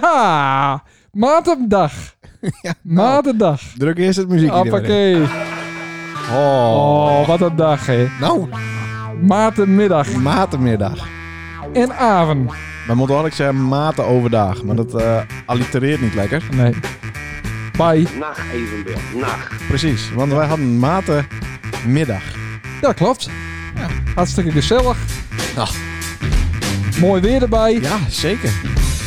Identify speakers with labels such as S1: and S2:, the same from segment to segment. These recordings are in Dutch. S1: Ja, maandag.
S2: Ja, nou,
S1: Maandag.
S2: druk eerst het muziekje erin.
S1: Appakee.
S2: Oh.
S1: Oh, wat een dag, hè.
S2: Nou,
S1: Maandenmiddag
S2: matenmiddag.
S1: en avond.
S2: We moeten eigenlijk zeggen maten overdag, maar dat eh allitereert niet lekker.
S1: Nee. Bye.
S3: Nacht evenbeeld, nacht.
S2: Precies, want wij hadden matenmiddag.
S1: Ja, klopt. Ja, hartstikke gezellig.
S2: Nou,
S1: Mooi weer erbij.
S2: ja, zeker.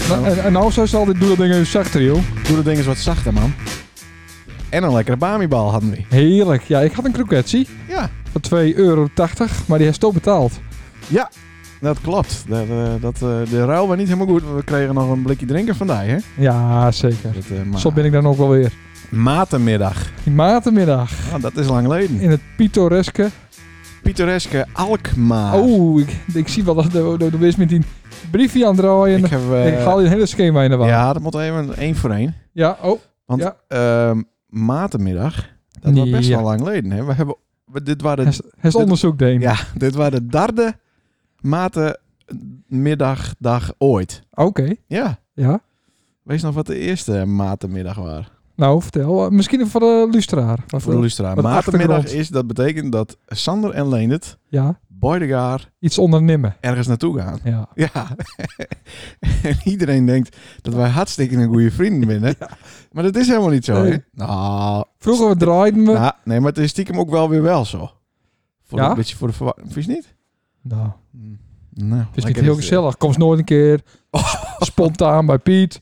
S1: Nou, en, en nou zo is al dit doel dingen zachter, joh.
S2: Doe dat ding eens wat zachter, man. En een lekkere bamibal hadden we.
S1: Heerlijk. Ja, ik had een kroketsie
S2: Ja,
S1: van 2,80 euro, maar die heeft toch betaald.
S2: dat klopt. Dat, eh, dat, eh, de ruil was niet helemaal goed. want We kregen nog een blikje drinken vandaag, hè?
S1: Ja, zeker.
S2: Dat, eh,
S1: Zo
S2: ma-
S1: ben ik dan ook wel weer.
S2: Matenmiddag.
S1: Die matenmiddag
S2: Ah, dat is lang geleden.
S1: in het pittoreske.
S2: Pittoreske Alkmaar.
S1: Oh, ik, ik zie wel dat de, de, de wees met die briefje aan het draaien.
S2: ik
S1: Ik,
S2: heb... eh,
S1: haal je hele schema in de war. Ja.
S2: ja, dat moet even één voor één.
S1: oh.
S2: Want
S1: Ja.
S2: ehm, matenmiddag, dat was best
S1: Ja.
S2: wel lang geleden. Hè? We hebben, we- dit, waren
S1: Hij is- hij is
S2: dit-
S1: onderzoek deed.
S2: ja, dit waren de derde matenmiddagdag ooit.
S1: Oké,
S2: Ja,
S1: ja.
S2: wees nog wat de eerste matenmiddag was.
S1: Nou, vertel. eh, Misschien voor de eh, lustraar. Wat,
S2: Voor de luisteraar.
S1: wat
S2: Matenmiddag
S1: achtergrond.
S2: is, dat betekent dat Sander en Leendert,
S1: Ja,
S2: Boydegaar,
S1: iets ondernemen.
S2: ergens naartoe gaan.
S1: Ja.
S2: Ja, en iedereen denkt dat wij hartstikke een goede vrienden binnen. Maar dat is helemaal niet zo, hè?
S1: Nee.
S2: Nou,
S1: Vroeger draaiden we...
S2: Nou, nee, maar het is stiekem ook wel weer wel zo. Voor
S1: Ja?
S2: Een beetje voor de verwarring. Vies niet?
S1: Nou,
S2: Nou,
S1: het is niet heel gezellig. Kom eens nooit een keer. Spontaan bij Piet.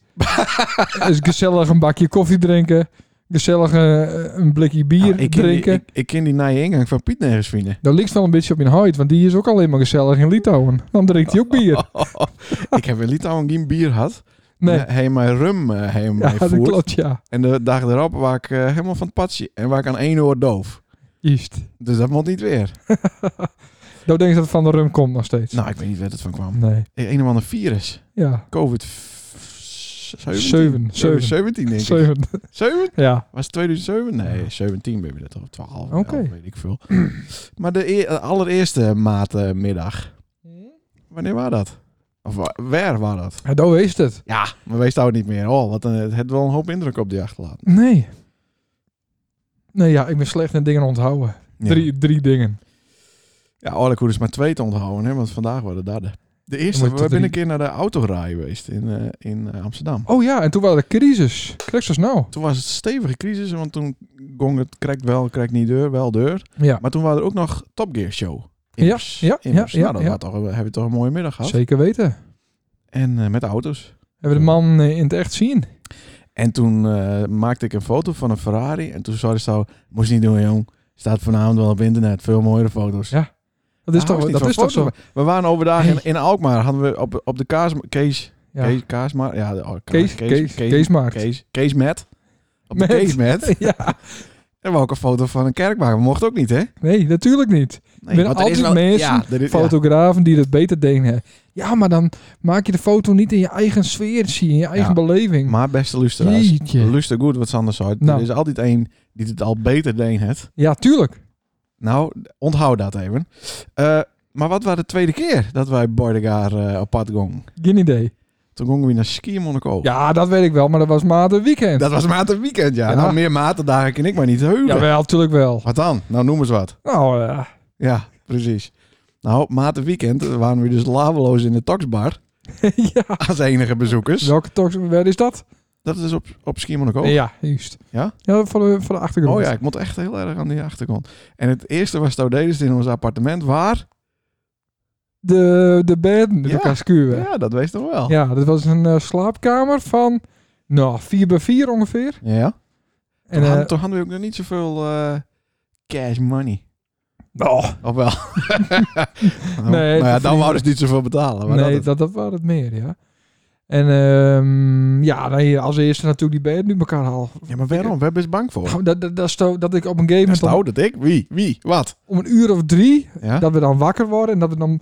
S1: is gezellig een bakje koffie drinken. Gezellig eh, een blikje bier
S2: Nou, ik ken
S1: drinken.
S2: Die, ik, ik ken die naaie ingang van Piet nergens vinden.
S1: Dat ligt wel een beetje op mijn huid, want die is ook alleen maar gezellig in Litouwen. Dan drinkt hij ook bier.
S2: ik heb in Litouwen geen bier gehad.
S1: Nee,
S2: Hij heeft mij rum eh, hij heeft mij
S1: ja, dat
S2: voerd.
S1: klopt, ja.
S2: En de dag erop was ik eh, helemaal van het padje. En waar ik aan één oor doof.
S1: Juist.
S2: Dus dat moet niet weer.
S1: Nou denk je dat het van de rum komt nog steeds.
S2: Nou, ik weet niet waar dat van kwam. Eh,
S1: Nee.
S2: Een of ander virus.
S1: Ja.
S2: Covid...
S1: Zeven,
S2: 17.
S1: zeven.
S2: 17 denk ik.
S1: Zeven.
S2: 7?
S1: Ja.
S2: Was het 2007? Nee, 17 ben je dat of 12.
S1: Oké.
S2: 11, weet ik veel. maar de e- allereerste maatmiddag, wanneer was dat? Of wa- waar was dat?
S1: Ja, dat is het.
S2: Ja, maar wees daar niet meer. Oh, wat een, het had wel een hoop indruk op die achterlaten.
S1: Nee. Nee, ja, ik ben slecht in dingen onthouden.
S2: Ja.
S1: Drie, drie dingen.
S2: Ja, oh, Orlik is maar twee te onthouden, hè, want vandaag waren dat de. De
S1: moet
S2: eerste,
S1: je
S2: we
S1: tot
S2: zijn een
S1: drie-
S2: keer naar de autorij geweest in, eh, in eh, Amsterdam.
S1: Oh ja, en toen waren de crisis. Crisis nou.
S2: Toen was het stevige crisis, want toen gong het krijgt wel, krijgt niet deur, wel deur.
S1: Ja,
S2: Maar toen waren er ook nog Top Gear Show.
S1: Ja,
S2: Immers,
S1: ja, ja,
S2: Immers.
S1: ja,
S2: Nou, dat
S1: ja.
S2: was toch, hebben we toch een mooie middag gehad.
S1: zeker weten.
S2: En eh, met auto's.
S1: Hebben we de man eh, in het echt zien?
S2: En toen eh, maakte ik een foto van een Ferrari. En toen zei ze zo, moest niet doen jong. Staat vanavond wel op internet. Veel mooiere foto's.
S1: Ja, Dat is
S2: Daar
S1: toch,
S2: hou ik
S1: dat
S2: niet
S1: is
S2: van
S1: toch zo?
S2: foto's. We waren overdag in,
S1: Hey.
S2: in Alkmaar. Hadden we op, op de kaas, Kees,
S1: Ja.
S2: Kees, Kaasmaar. Ja, de- oh,
S1: Kees,
S2: Kaas-
S1: Kees, Kees Maart.
S2: Kees, Kees Met. Op
S1: Met.
S2: de Kees Met.
S1: Ja,
S2: En we ook een foto van een kerkbaar. We mochten ook niet, hè?
S1: nee, natuurlijk niet.
S2: Nee,
S1: ben
S2: want er is
S1: altijd mensen,
S2: Ja, er is- ja.
S1: Fotografen die dat beter deden. Ja, maar dan maak je de foto niet in je eigen sfeer zien, in je eigen
S2: Ja.
S1: beleving.
S2: Maar beste luisteraars,
S1: Jeetje.
S2: luister goed wat Sander zei.
S1: Nou.
S2: Er is altijd één die het al beter deed het.
S1: Ja, tuurlijk.
S2: Nou, onthoud dat even. Eh, maar wat was de tweede keer dat wij Bordegaar eh op pad gingen?
S1: Geen idee.
S2: Toen gingen we naar Ski Monaco.
S1: Ja, dat weet ik wel, maar dat was maar de weekend.
S2: Dat was maat een weekend, ja.
S1: Ja.
S2: Nou, meer matendagen ken ik maar niet heugen.
S1: Jawel, natuurlijk wel.
S2: Wat dan? Nou, noem eens wat.
S1: Nou, eh,
S2: Ja, precies. Nou, maat een weekend eh, waren we dus laveloos in de taxbar
S1: ja.
S2: als enige bezoekers.
S1: Welke talks, waar is dat?
S2: Dat is op, op Ski Monaco.
S1: Ja, juist.
S2: Oh. Ja?
S1: Ja, voor de, voor de achtergrond.
S2: Oh ja, ik moet echt heel erg aan die achtergrond. En het eerste was dat deden ze in ons appartement. Waar?
S1: De, de bedden, de
S2: Ja.
S1: elkaar schuwen.
S2: Ja, dat wees toch wel.
S1: Ja, dat was een eh, slaapkamer van, nou, 4 bij 4 ongeveer.
S2: Ja.
S1: En,
S2: toen,
S1: eh,
S2: hadden, toen hadden we ook nog niet zoveel eh, cash money.
S1: oh,
S2: Of wel?
S1: Nee,
S2: nou ja,
S1: dat
S2: dan
S1: vind
S2: wouden ze niet zoveel betalen. Maar
S1: nee, dat,
S2: Oh, dat,
S1: dat, was het meer, ja. En ehm, ja, dan hier als eerste natuurlijk die bedden nu elkaar halen.
S2: ja, maar waarom? We hebben eens bang voor.
S1: Gauw, Dat, dat, dat, is zo- dat ik op een gegeven
S2: Ja,
S1: moment om,
S2: Stout dat nou- ik? Wie? Wie? Wat?
S1: om een uur of drie,
S2: Ja?
S1: dat we dan wakker worden en dat we dan...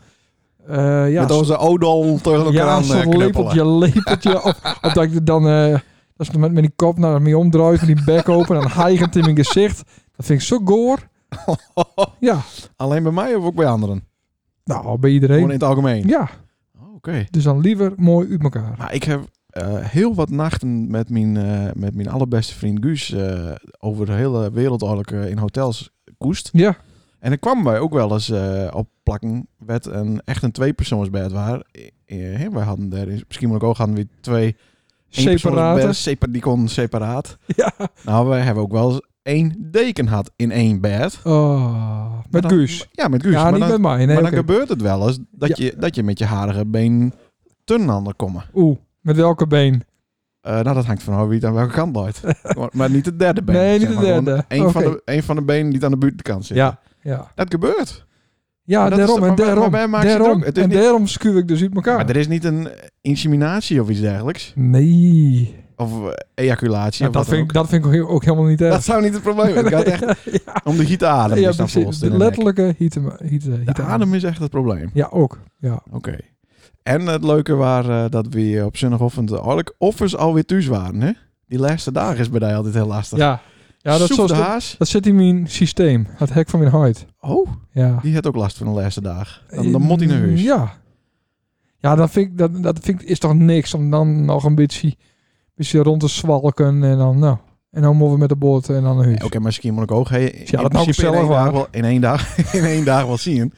S1: eh, ja,
S2: Met onze odol tegen elkaar
S1: ja,
S2: aan eh,
S1: zo'n
S2: knuppelen.
S1: lepeltje, lepeltje. of, of dat ik dan, eh als ik met, met die kop naar me omdraait, met die bek open en dan hijgend in mijn gezicht. Dat vind ik zo goor. Ja,
S2: Alleen bij mij of ook bij anderen?
S1: nou, bij
S2: Gewoon in
S1: iedereen.
S2: het algemeen?
S1: Ja,
S2: Oké.
S1: dus dan liever mooi uit elkaar.
S2: Maar ik heb eh, heel wat nachten met mijn, eh, met mijn allerbeste vriend Guus eh, over de hele wereld eigenlijk eh, in hotels koest.
S1: Ja.
S2: En dan kwamen wij ook wel eens eh, op plakken werd een echt een tweepersoonsbed waar. Eh, eh, wij hadden daar is- misschien moet ik ook gaan weer twee
S1: Separate.
S2: eenpersoonsbedden, separ- die kon separaat.
S1: Ja.
S2: Nou, wij hebben ook wel eens één deken gehad in één bed.
S1: Oh,
S2: Maar
S1: met
S2: dan-
S1: Guus.
S2: Ja, met Guus.
S1: Ja,
S2: maar
S1: niet
S2: dan,
S1: met mij. Nee,
S2: maar dan
S1: oké.
S2: gebeurt het wel eens dat, je, dat je met je harige been tunnelanden komen.
S1: Oeh, met welke been?
S2: Eh, nou, dat hangt van hoe wie het aan welke kant draait. maar, maar niet de derde been.
S1: Nee, niet
S2: zeg
S1: de
S2: maar. Gewoon
S1: derde.
S2: Een, van
S1: Oké.
S2: de, een van de benen die aan de buitenkant zit.
S1: Ja. Ja,
S2: Dat gebeurt.
S1: ja
S2: Maar dat is
S1: daarom. en
S2: toch- maar wij-
S1: daarom.
S2: maar wij maken ze
S1: daarom.
S2: druk. Het is
S1: en
S2: niet-
S1: daarom schuw ik dus uit elkaar.
S2: Maar er is niet een inseminatie of iets dergelijks.
S1: Nee.
S2: Of eh, ejaculatie.
S1: Maar dat,
S2: of wat dan
S1: vind ik, dat vind ik ook- ook helemaal niet
S2: ook.
S1: erg.
S2: dat zou niet het probleem zijn. Het gaat echt
S1: ja,
S2: om de hitte adem.
S1: ja
S2: is dan
S1: precies.
S2: volgens
S1: De
S2: in de nek.
S1: letterlijke hitte, hitte,
S2: De
S1: hitte
S2: adem is echt het probleem.
S1: Ja, ook. Ja.
S2: Oké. En het leuke was dat we op zondagochtend eigenlijk offers alweer thuis waren. Hè? Die laatste dagen is bij mij altijd heel lastig.
S1: Ja. ja dat,
S2: Soep
S1: zoals
S2: de
S1: dat,
S2: haas.
S1: dat zit in mijn systeem. Het hek van mijn huid.
S2: Oh,
S1: Ja.
S2: die had ook last van de laatste dag. Dan, dan moet hij naar huis.
S1: Ja. Ja, dat vind ik, dat, dat vind ik is toch niks om dan nog een beetje, beetje rond te zwalken en dan, nou, en dan moeten we met de boot en dan naar huis.
S2: Oké, maar misschien moet ik ook hey, in
S1: dat nou
S2: principe in
S1: zelf
S2: één, dag
S1: waar.
S2: wel, in, één dag, in één dag wel zien.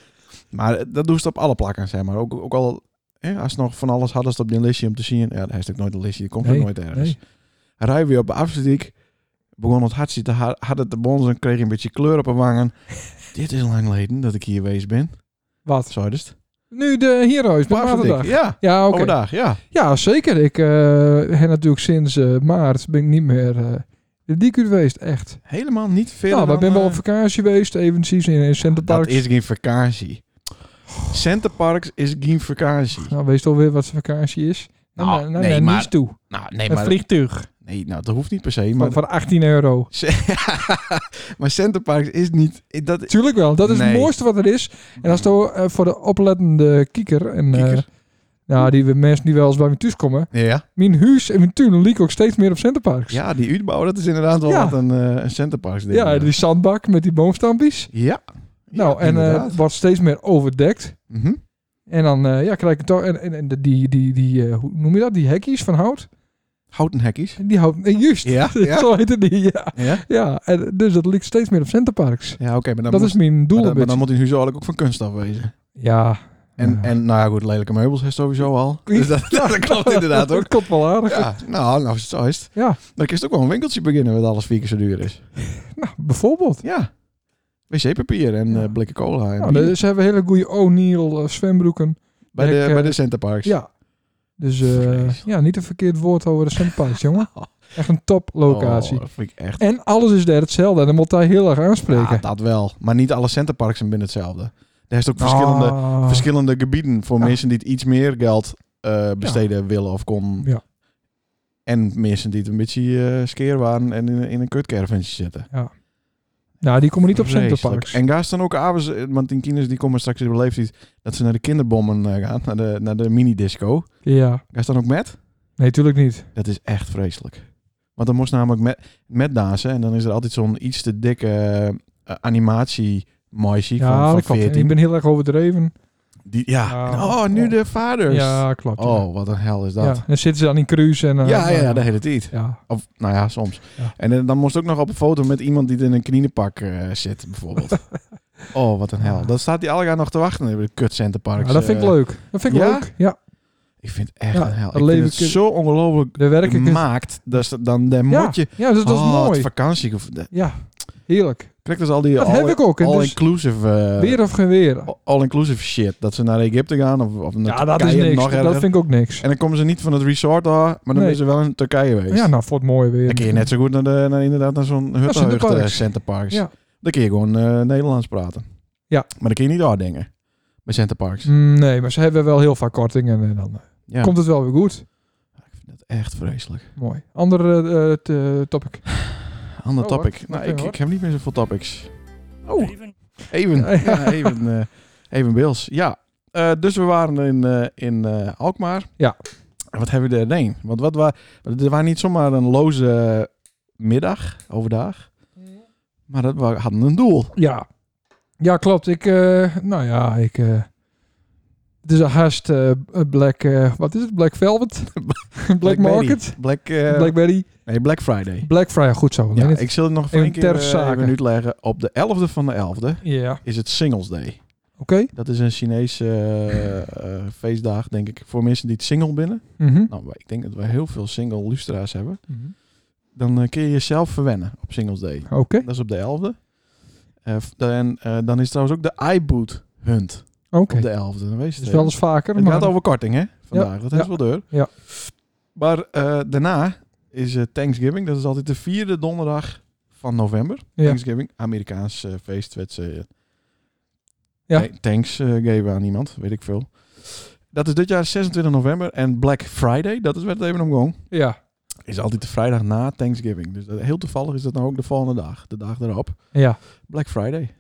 S2: Maar dat doen ze op alle plakken, zeg maar. Ook, ook al, hè, als ze nog van alles hadden ze het op die listje om te zien. Ja, hij is ook nooit een listje, die komt
S1: Nee,
S2: ook nooit ergens.
S1: nee.
S2: Rij weer op de afstatiek, begon het hartje te ha- harder te bonzen, kreeg een beetje kleur op haar wangen. Dit is lang geleden dat ik hier geweest ben.
S1: Wat?
S2: Zo is het.
S1: Nu de hieruis, bij
S2: Afstatiek,
S1: maandag.
S2: ja.
S1: Ja, oké.
S2: Overdag, ja.
S1: Ja, zeker. Ik eh heb natuurlijk sinds eh, maart ben ik niet meer eh, de diek geweest, echt.
S2: Helemaal niet veel.
S1: Nou, we
S2: dan,
S1: ben wel
S2: eh,
S1: op vakantie geweest, eventjes in, in Centerparks.
S2: Dat is geen vakantie. Centerparks is geen vakantie.
S1: Nou, weet je alweer wat zijn vakantie is? Nou,
S2: Nou,
S1: naar,
S2: nee,
S1: naar
S2: maar-
S1: Nice toe.
S2: Nou, nee,
S1: Een
S2: maar...
S1: vliegtuig.
S2: Nee, nou, dat hoeft niet per se. Maar,
S1: Van, van 18 euro.
S2: maar Centerparks is niet... Dat,
S1: Tuurlijk wel. Dat is
S2: Nee.
S1: het mooiste wat er is. En als het ook, eh, voor de oplettende kieker en eh,
S2: Kieker?
S1: nou, die mensen die wel eens bij me thuis komen,
S2: ja.
S1: mijn huis en mijn tuin lieken ook steeds meer op Centerparks.
S2: ja, die uitbouw, dat is inderdaad wel
S1: Ja.
S2: wat een, eh, een Centerparks ding.
S1: Ja, die zandbak met die boomstampies.
S2: Ja.
S1: nou,
S2: Ja,
S1: en eh,
S2: inderdaad.
S1: het wordt steeds meer overdekt.
S2: Mhm.
S1: En dan eh, ja, krijg ik toch. En, en, en die, die, die eh, hoe noem je dat? Die hekjes van hout.
S2: Houten hekjes.
S1: Die hout. Nee, juist.
S2: Ja, ja.
S1: Zo heette die. Ja.
S2: Ja,
S1: ja. En, dus dat ligt steeds meer op centerparks.
S2: ja oké, maar dan,
S1: dat
S2: moet,
S1: is mijn doel.
S2: maar dan,
S1: een
S2: maar dan
S1: beetje.
S2: moet in huis eigenlijk ook van kunst afwezen.
S1: Ja.
S2: En,
S1: Ja.
S2: en nou ja, goed, lelijke meubels heeft sowieso al. Dus dat, dat klopt inderdaad ook.
S1: Dat klopt wel aardig.
S2: Ja, nou, nou, zo is het.
S1: Ja.
S2: Dan kun je ook wel een winkeltje beginnen wat alles vier keer zo duur is.
S1: Nou, bijvoorbeeld.
S2: Ja. Wc-papier en
S1: Ja.
S2: eh, blikken cola. En
S1: Nou,
S2: bier.
S1: dus ze hebben hele goede O'Neill eh, zwembroeken.
S2: bij, de,
S1: ik, eh,
S2: bij de Centerparks.
S1: Ja. Dus eh,
S2: Vreselijk.
S1: ja, niet een verkeerd woord over de centerparks, jongen. Echt een toplocatie.
S2: Oh, dat vind ik echt...
S1: En alles is daar hetzelfde. En dan moet hij heel erg
S2: Ja,
S1: aanspreken.
S2: dat wel. Maar niet alle centerparks zijn binnen hetzelfde. Er is ook verschillende,
S1: Ah.
S2: verschillende gebieden voor
S1: Ja.
S2: mensen die het iets meer geld eh, besteden willen of kon.
S1: Ja.
S2: En mensen die het een beetje eh skeer waren en in, in een kutcaravantje zitten.
S1: Nou, die komen niet op
S2: Vreselijk.
S1: centerparks.
S2: En ga dan ook avonds, eh, want die kinders die komen straks in de leeftijd dat ze naar de kinderbommen eh, gaan, naar de, naar de mini-disco.
S1: Ja.
S2: Ga dan ook met?
S1: Nee, tuurlijk niet.
S2: Dat is echt vreselijk. Want dan moest namelijk met, met dansen en dan is er altijd zo'n iets te dikke eh, animatie moisie
S1: ja,
S2: van,
S1: dat
S2: van
S1: klopt.
S2: 14.
S1: Ik ben heel erg overdreven.
S2: Die, ja.
S1: Ja.
S2: En, oh, nu
S1: Oh.
S2: de vaders.
S1: Ja, klopt. ja.
S2: Oh, wat een hel is
S1: ja.
S2: dat.
S1: Dan zitten ze dan in cruise en...
S2: Ja,
S1: eh,
S2: ja, ja,
S1: nou,
S2: de hele tijd.
S1: ja.
S2: Of, nou ja, soms.
S1: Ja.
S2: En eh, dan moest ik ook nog op een foto met iemand die in een kniepak eh, zit, bijvoorbeeld. oh, wat een hel. Dan staat die Alga nog te wachten in de kut Centerparks.
S1: Ja, dat vind ik
S2: eh.
S1: leuk. Dat vind ik
S2: ja?
S1: leuk. Ja,
S2: Ik vind het echt
S1: Ja,
S2: een hel.
S1: dat
S2: Ik vind
S1: leven
S2: het
S1: kun-
S2: zo ongelooflijk
S1: daar werk ik...
S2: gemaakt. Dat ze dan dan
S1: ja.
S2: moet je...
S1: ja, dus dat is
S2: Oh, het
S1: mooi.
S2: vakantie. of- de-
S1: Ja, heerlijk.
S2: Krijg dus al die
S1: Dat heb ik ook. En dus
S2: all-inclusive eh,
S1: weer of geen weer.
S2: all-inclusive shit. Dat ze naar Egypte gaan of, of naar
S1: Ja, dat is
S2: Turkije,
S1: niks.
S2: nog
S1: Dat
S2: erger.
S1: vind ik ook niks.
S2: En dan komen ze niet van het resort af, maar dan
S1: Nee.
S2: zijn ze wel in Turkije geweest.
S1: Ja, nou, voor het mooie weer.
S2: dan kun je net zo goed naar, de, naar, inderdaad, naar zo'n huttenheugd
S1: Centerparks.
S2: eh, Centerparks.
S1: Ja.
S2: Dan kun je gewoon eh, Nederlands praten.
S1: Ja.
S2: Maar dan kun je niet daar dingen. Bij Centerparks.
S1: Mm, Nee, maar ze hebben wel heel vaak kortingen en dan eh,
S2: Ja.
S1: komt het wel weer goed.
S2: Ik vind dat echt vreselijk.
S1: Mooi. Andere eh, t- eh, topic.
S2: Ander
S1: Oh,
S2: topic.
S1: hoor.
S2: Nou,
S1: Oké,
S2: ik,
S1: hoor.
S2: ik heb niet meer zoveel topics.
S1: Oh,
S2: Even.
S1: Ja,
S2: Ja,
S1: ja.
S2: even, eh, even Bills. Ja. Eh, dus we waren in, eh, in eh, Alkmaar.
S1: Ja.
S2: En wat hebben we daar gedaan? Want wat wa er was niet zomaar een loze middag overdag. Maar dat we hadden een doel.
S1: Ja. Ja, klopt. Ik, eh, nou ja, ik... eh, Het is een haast eh, black, eh, wat is het? Black Velvet? black, Market?
S2: Black, eh,
S1: Blackberry?
S2: nee, Black Friday.
S1: Black Friday, goed zo.
S2: Ja,
S1: Ja,
S2: ik zal het nog even
S1: even
S2: een keer
S1: ter
S2: eh,
S1: zake.
S2: even uitleggen. Op de 11e van de 11e
S1: ja. oké.
S2: is het Singles Day. Dat is een Chinese eh, eh, feestdag, denk ik, voor mensen die het single binnen.
S1: Mhm.
S2: Nou, wij- ik denk dat wij heel veel single lustra's hebben.
S1: Mhm.
S2: Dan eh, kun je jezelf verwennen op Singles Day.
S1: Oké.
S2: Dat is op de 11e. Eh, f- dan, eh, dan is trouwens ook de iBoot Hunt
S1: Oké.
S2: op de 11e. Dan wees
S1: Het is
S2: het
S1: wel
S2: even.
S1: eens vaker.
S2: Het
S1: maar...
S2: gaat over korting, hè? Vandaag. Dat is
S1: ja.
S2: wel deur.
S1: Ja.
S2: Maar eh, daarna is eh, Thanksgiving. Dat is altijd de vierde donderdag van november.
S1: Ja.
S2: Thanksgiving. Amerikaans eh, feest. Werd ze, eh,
S1: Ja.
S2: thank- thanks eh, geven aan iemand. Weet ik veel. Dat is dit jaar 26 november. En Black Friday, dat is waar het even om ging,
S1: Ja.
S2: is altijd de vrijdag na Thanksgiving. Dus dat- heel toevallig is dat nou ook de volgende dag. De dag erop.
S1: Ja.
S2: Black Friday.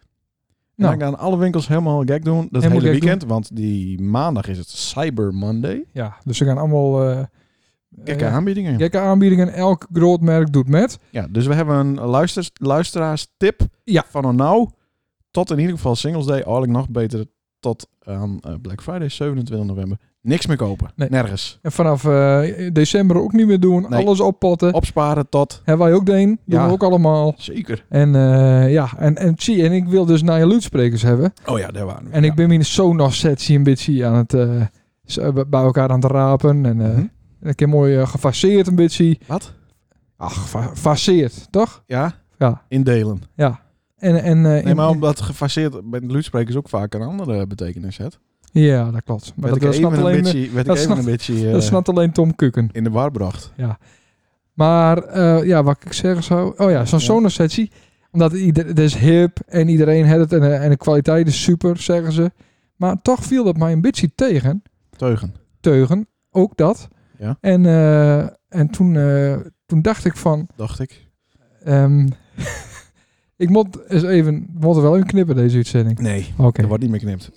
S1: Nou.
S2: En dan gaan alle winkels helemaal gek doen. Dat
S1: Helemaal
S2: hele
S1: gek
S2: weekend. Want die maandag is het Cyber Monday.
S1: ja. Dus ze gaan allemaal eh,
S2: Gekke
S1: eh,
S2: aanbiedingen.
S1: gekke aanbiedingen. Elk groot merk doet met.
S2: Ja, dus we hebben een luister, luisteraars tip
S1: Ja.
S2: van een nou tot in ieder geval Singles Day. Eigenlijk nog beter tot aan eh, Black Friday 27 november. Niks meer kopen.
S1: Nee.
S2: Nergens.
S1: En vanaf eh, december ook niet meer doen.
S2: Nee.
S1: Alles oppotten.
S2: Opsparen tot...
S1: Hebben wij ook deen. Doen
S2: Ja.
S1: we ook allemaal.
S2: Zeker.
S1: En eh, ja, en, en zie, en ik wil dus naar je luidsprekers hebben.
S2: Oh ja, daar waren we.
S1: En
S2: Ja.
S1: ik ben mijn Sonos set zie een beetje aan het eh, z- eh, bij elkaar aan het rapen. En eh,
S2: Mhm.
S1: een keer mooi eh, gefaseerd een beetje.
S2: Wat?
S1: Ach, gefa- faseerd, toch?
S2: Ja?
S1: Ja.
S2: Indelen.
S1: En, en, eh,
S2: Nee,
S1: in-
S2: maar omdat gefaseerd met luidsprekers ook vaak een andere betekenis heeft.
S1: Ja, dat klopt. Maar
S2: Werd
S1: dat,
S2: ik
S1: dat
S2: even
S1: snapt
S2: een
S1: alleen,
S2: beetje, werd ik
S1: dat
S2: even een
S1: snapt-
S2: beetje eh,
S1: dat snapt alleen Tom Kuken.
S2: in de war bracht.
S1: Maar eh, ja, wat ik zeggen zou... Oh ja, zo'n
S2: Ja.
S1: Sonos set zie. Omdat ieder, het is hip en iedereen heeft het. En, eh, en de kwaliteit is super, zeggen ze. Maar toch viel dat mij een beetje tegen.
S2: Teugen.
S1: teugen, ook dat.
S2: Ja.
S1: En, eh, en toen, eh, toen dacht ik van,
S2: Dacht ik.
S1: ehm, ik moet eens even, we moeten wel even knippen deze uitzending.
S2: Nee.
S1: Oké.
S2: Er wordt niet meer knipt.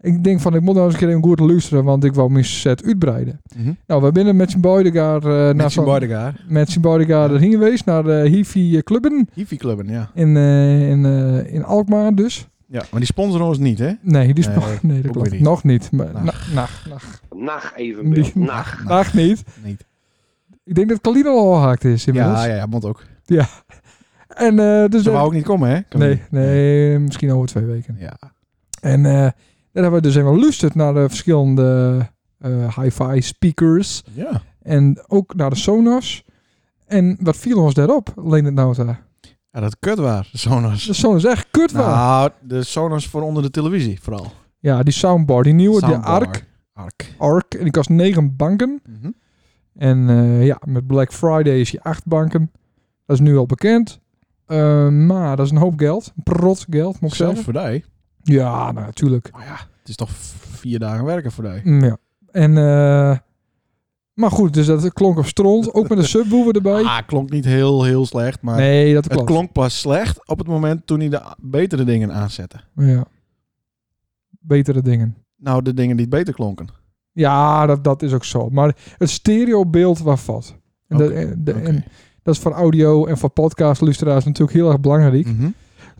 S1: Ik denk van, ik moet nou eens een keer een goed luisteren, want ik wou mijn set uitbreiden. Nou, we binnen met z'n boydegaar eh naar
S2: Met zijn
S1: zo'n-
S2: Bardegaar.
S1: met z'n boydegaar erheen geweest naar de Hifi eh, Clubben
S2: Hifi Clubben, ja.
S1: in, eh, in, eh, in Alkmaar dus.
S2: Ja, maar die sponsoren ons niet, hè?
S1: Nee, die is
S2: Nee,
S1: nee, nee, dat
S2: ook
S1: klopt.
S2: weer niet.
S1: Nog niet. Maar,
S2: Nacht.
S1: nacht, nacht, nacht,
S3: Nacht even,
S1: Die-
S3: Bill. Nacht.
S1: nacht niet.
S2: Niet.
S1: Ik denk dat Kalina al haakt is inmiddels.
S2: Ja, ja, ja, moet ook.
S1: En, eh, dus
S2: Ze
S1: dat-
S2: wou ook niet komen, hè? Kan
S1: Nee,
S2: niet.
S1: nee, misschien over twee weken.
S2: Ja.
S1: En eh, daar hebben we dus even geluisterd naar de verschillende eh hi-fi speakers.
S2: ja.
S1: En ook naar de Sonos. En wat viel ons daarop, Leen het Nauta?
S2: Ja, dat kut waar, de Sonos.
S1: De Sonos is echt kut waar.
S2: Nou, de Sonos voor onder de televisie, vooral.
S1: Ja, die soundbar, die nieuwe, de
S2: Soundbar.
S1: Arc.
S2: Arc.
S1: Arc, en die kost negen banken.
S2: Mhm.
S1: En eh, ja, met Black Friday is die acht banken. Dat is nu al bekend. Eh, maar dat is een hoop geld. Een Prot geld, moet ik
S2: Zelfs
S1: zeggen.
S2: voor die.
S1: Ja, nou, natuurlijk.
S2: Nou ja, het is toch v- vier dagen werken voor die.
S1: Mm, Ja. En, eh, maar goed, dus dat klonk op stront. Ook met een subwoofer erbij.
S2: Ah, klonk niet heel, heel slecht, maar
S1: Nee, dat
S2: het
S1: klopt.
S2: klonk pas slecht op het moment toen hij de a- betere dingen aanzette.
S1: Ja. Betere dingen.
S2: Nou, de dingen die beter klonken.
S1: Ja, dat, dat is ook zo. Maar het stereobeeld was vast. En, dat,
S2: Oké,
S1: en- de-
S2: oké.
S1: en dat is voor audio en voor podcastluisteraars natuurlijk heel erg belangrijk.
S2: Mhm.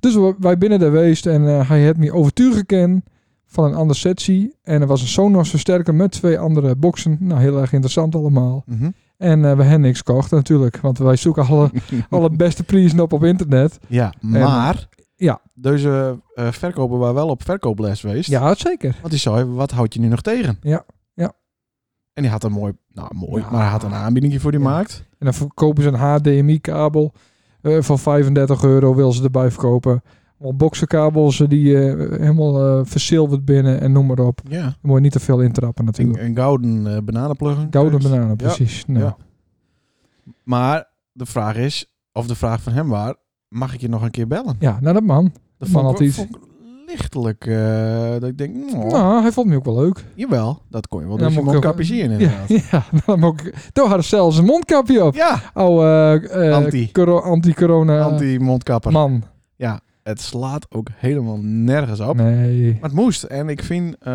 S1: Dus we- wij binnen daar geweest en eh, hij heeft me overtuigd gekend van een andere sessie. En er was een Sonos versterker met twee andere boxen. Nou, heel erg interessant allemaal.
S2: Mhm.
S1: En eh, we hebben niks gekocht natuurlijk, want wij zoeken alle, alle beste prijzen op op internet.
S2: Ja, maar...
S1: ja.
S2: Deze eh verkoper waar wel op verkooples geweest.
S1: Ja, zeker.
S2: Want die zei, wat houd je nu nog tegen?
S1: Ja, ja.
S2: En die had een mooi, nou mooi,
S1: Ja.
S2: maar hij had een aanbieding voor die
S1: Ja.
S2: markt.
S1: En dan verkopen ze een HDMI-kabel eh, van 35 euro, wil ze erbij verkopen. Al boxenkabels eh, die eh, helemaal eh, verzilverd binnen en noem maar op.
S2: Ja.
S1: Dan moet je niet te veel intrappen natuurlijk.
S2: Een, een gouden eh bananenpluggen.
S1: Gouden
S2: Juist.
S1: bananen, precies. Nou,
S2: ja. Maar de vraag is, of de vraag van hem waar, mag ik je nog een keer bellen?
S1: ja, nou dat man.
S2: Dat
S1: Man
S2: vond
S1: had
S2: ik,
S1: iets.
S2: vond ik lichtelijk, eh, dat ik denk, nou,
S1: Nou, hij vond me ook wel leuk.
S2: jawel, dat kon je wel.
S1: Ja,
S2: Dus je
S1: moet
S2: moet
S1: ik ook-
S2: kapje in
S1: Ja,
S2: inderdaad. Ja,
S1: ja nou, dan ook, toen hadden ze zelfs een mondkapje op. Oh,
S2: Anti.
S1: anti-corona
S2: anti-mondkapper.
S1: man.
S2: Het slaat ook helemaal nergens op.
S1: Nee.
S2: Maar het moest. En ik vind, eh,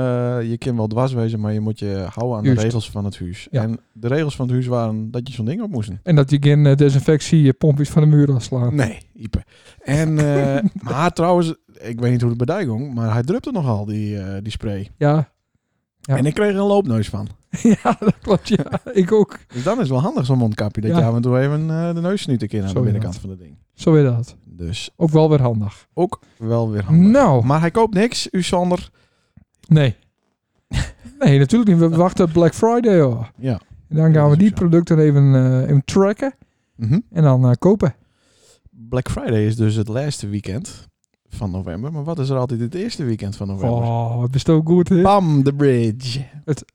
S2: je kan wel dwars wezen, maar je moet je houden aan de
S1: Juist.
S2: regels van het huis.
S1: Ja.
S2: En de regels van het huis waren dat je zo'n ding op moest. doen.
S1: En dat je geen eh, desinfectie je pompjes van de muur afslaan.
S2: Nee, Ipe. En, eh, maar trouwens, ik weet niet hoe het bij Dijgong, maar hij drupte nogal die, eh, die spray.
S1: Ja. Ja.
S2: En ik kreeg er een loopneus van.
S1: ja, dat klopt. Ja, ik ook.
S2: Dus dan is wel handig zo'n mondkapje. Dat
S1: Ja.
S2: je af en toe even eh, de neus snuit een keer aan
S1: Zo
S2: de
S1: is
S2: binnenkant van het ding.
S1: Zo weer dat.
S2: Dus
S1: Ook wel weer handig.
S2: ook wel weer handig.
S1: Nou,
S2: Maar hij koopt niks, u zonder.
S1: nee. Nee, natuurlijk niet. We wachten op Black Friday. Hoor.
S2: Ja.
S1: En dan
S2: Dat
S1: gaan
S2: is
S1: we die
S2: ook zo.
S1: producten even, eh, even tracken
S2: Mhm.
S1: en dan eh, kopen.
S2: Black Friday is dus het laatste weekend van november. Maar wat is er altijd het eerste weekend van november?
S1: Oh, het is zo goed. hè?
S2: Bam, de bridge.
S1: Het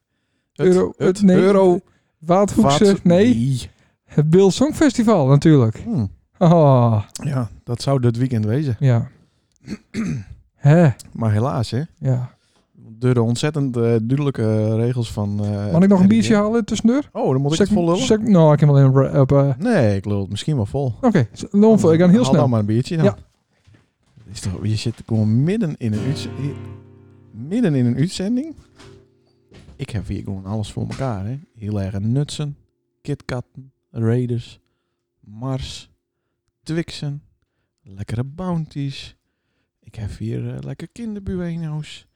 S1: Euro- het- nee.
S2: euro.
S1: Waardhoekse,
S2: vat-
S1: nee. Het Bill Song Festival natuurlijk.
S2: Hmm.
S1: Oh,
S2: Ja, dat zou dit weekend wezen.
S1: ja. Hè,
S2: Maar helaas, hè.
S1: ja.
S2: Door de ontzettend eh, duidelijke regels van... eh,
S1: Mag ik nog een
S2: RIVM.
S1: biertje halen tussendoor?
S2: Oh, dan moet ik
S1: Zeg-
S2: het vol lullen?
S1: zeg- Nou, ik heb hem alleen op... op, eh,
S2: Nee, ik lul het misschien wel vol.
S1: Oké, dan voor. ik ga heel
S2: Haal dan
S1: snel.
S2: maar een biertje dan.
S1: Ja.
S2: Is toch, je zit gewoon midden in een uitzending. Midden in een uitzending. Ik heb hier gewoon alles voor elkaar. Hè. Hier liggen nutsen, kitkatten, raiders, mars, twixen, lekkere bounties. Ik heb hier eh, lekker kinderbueno's.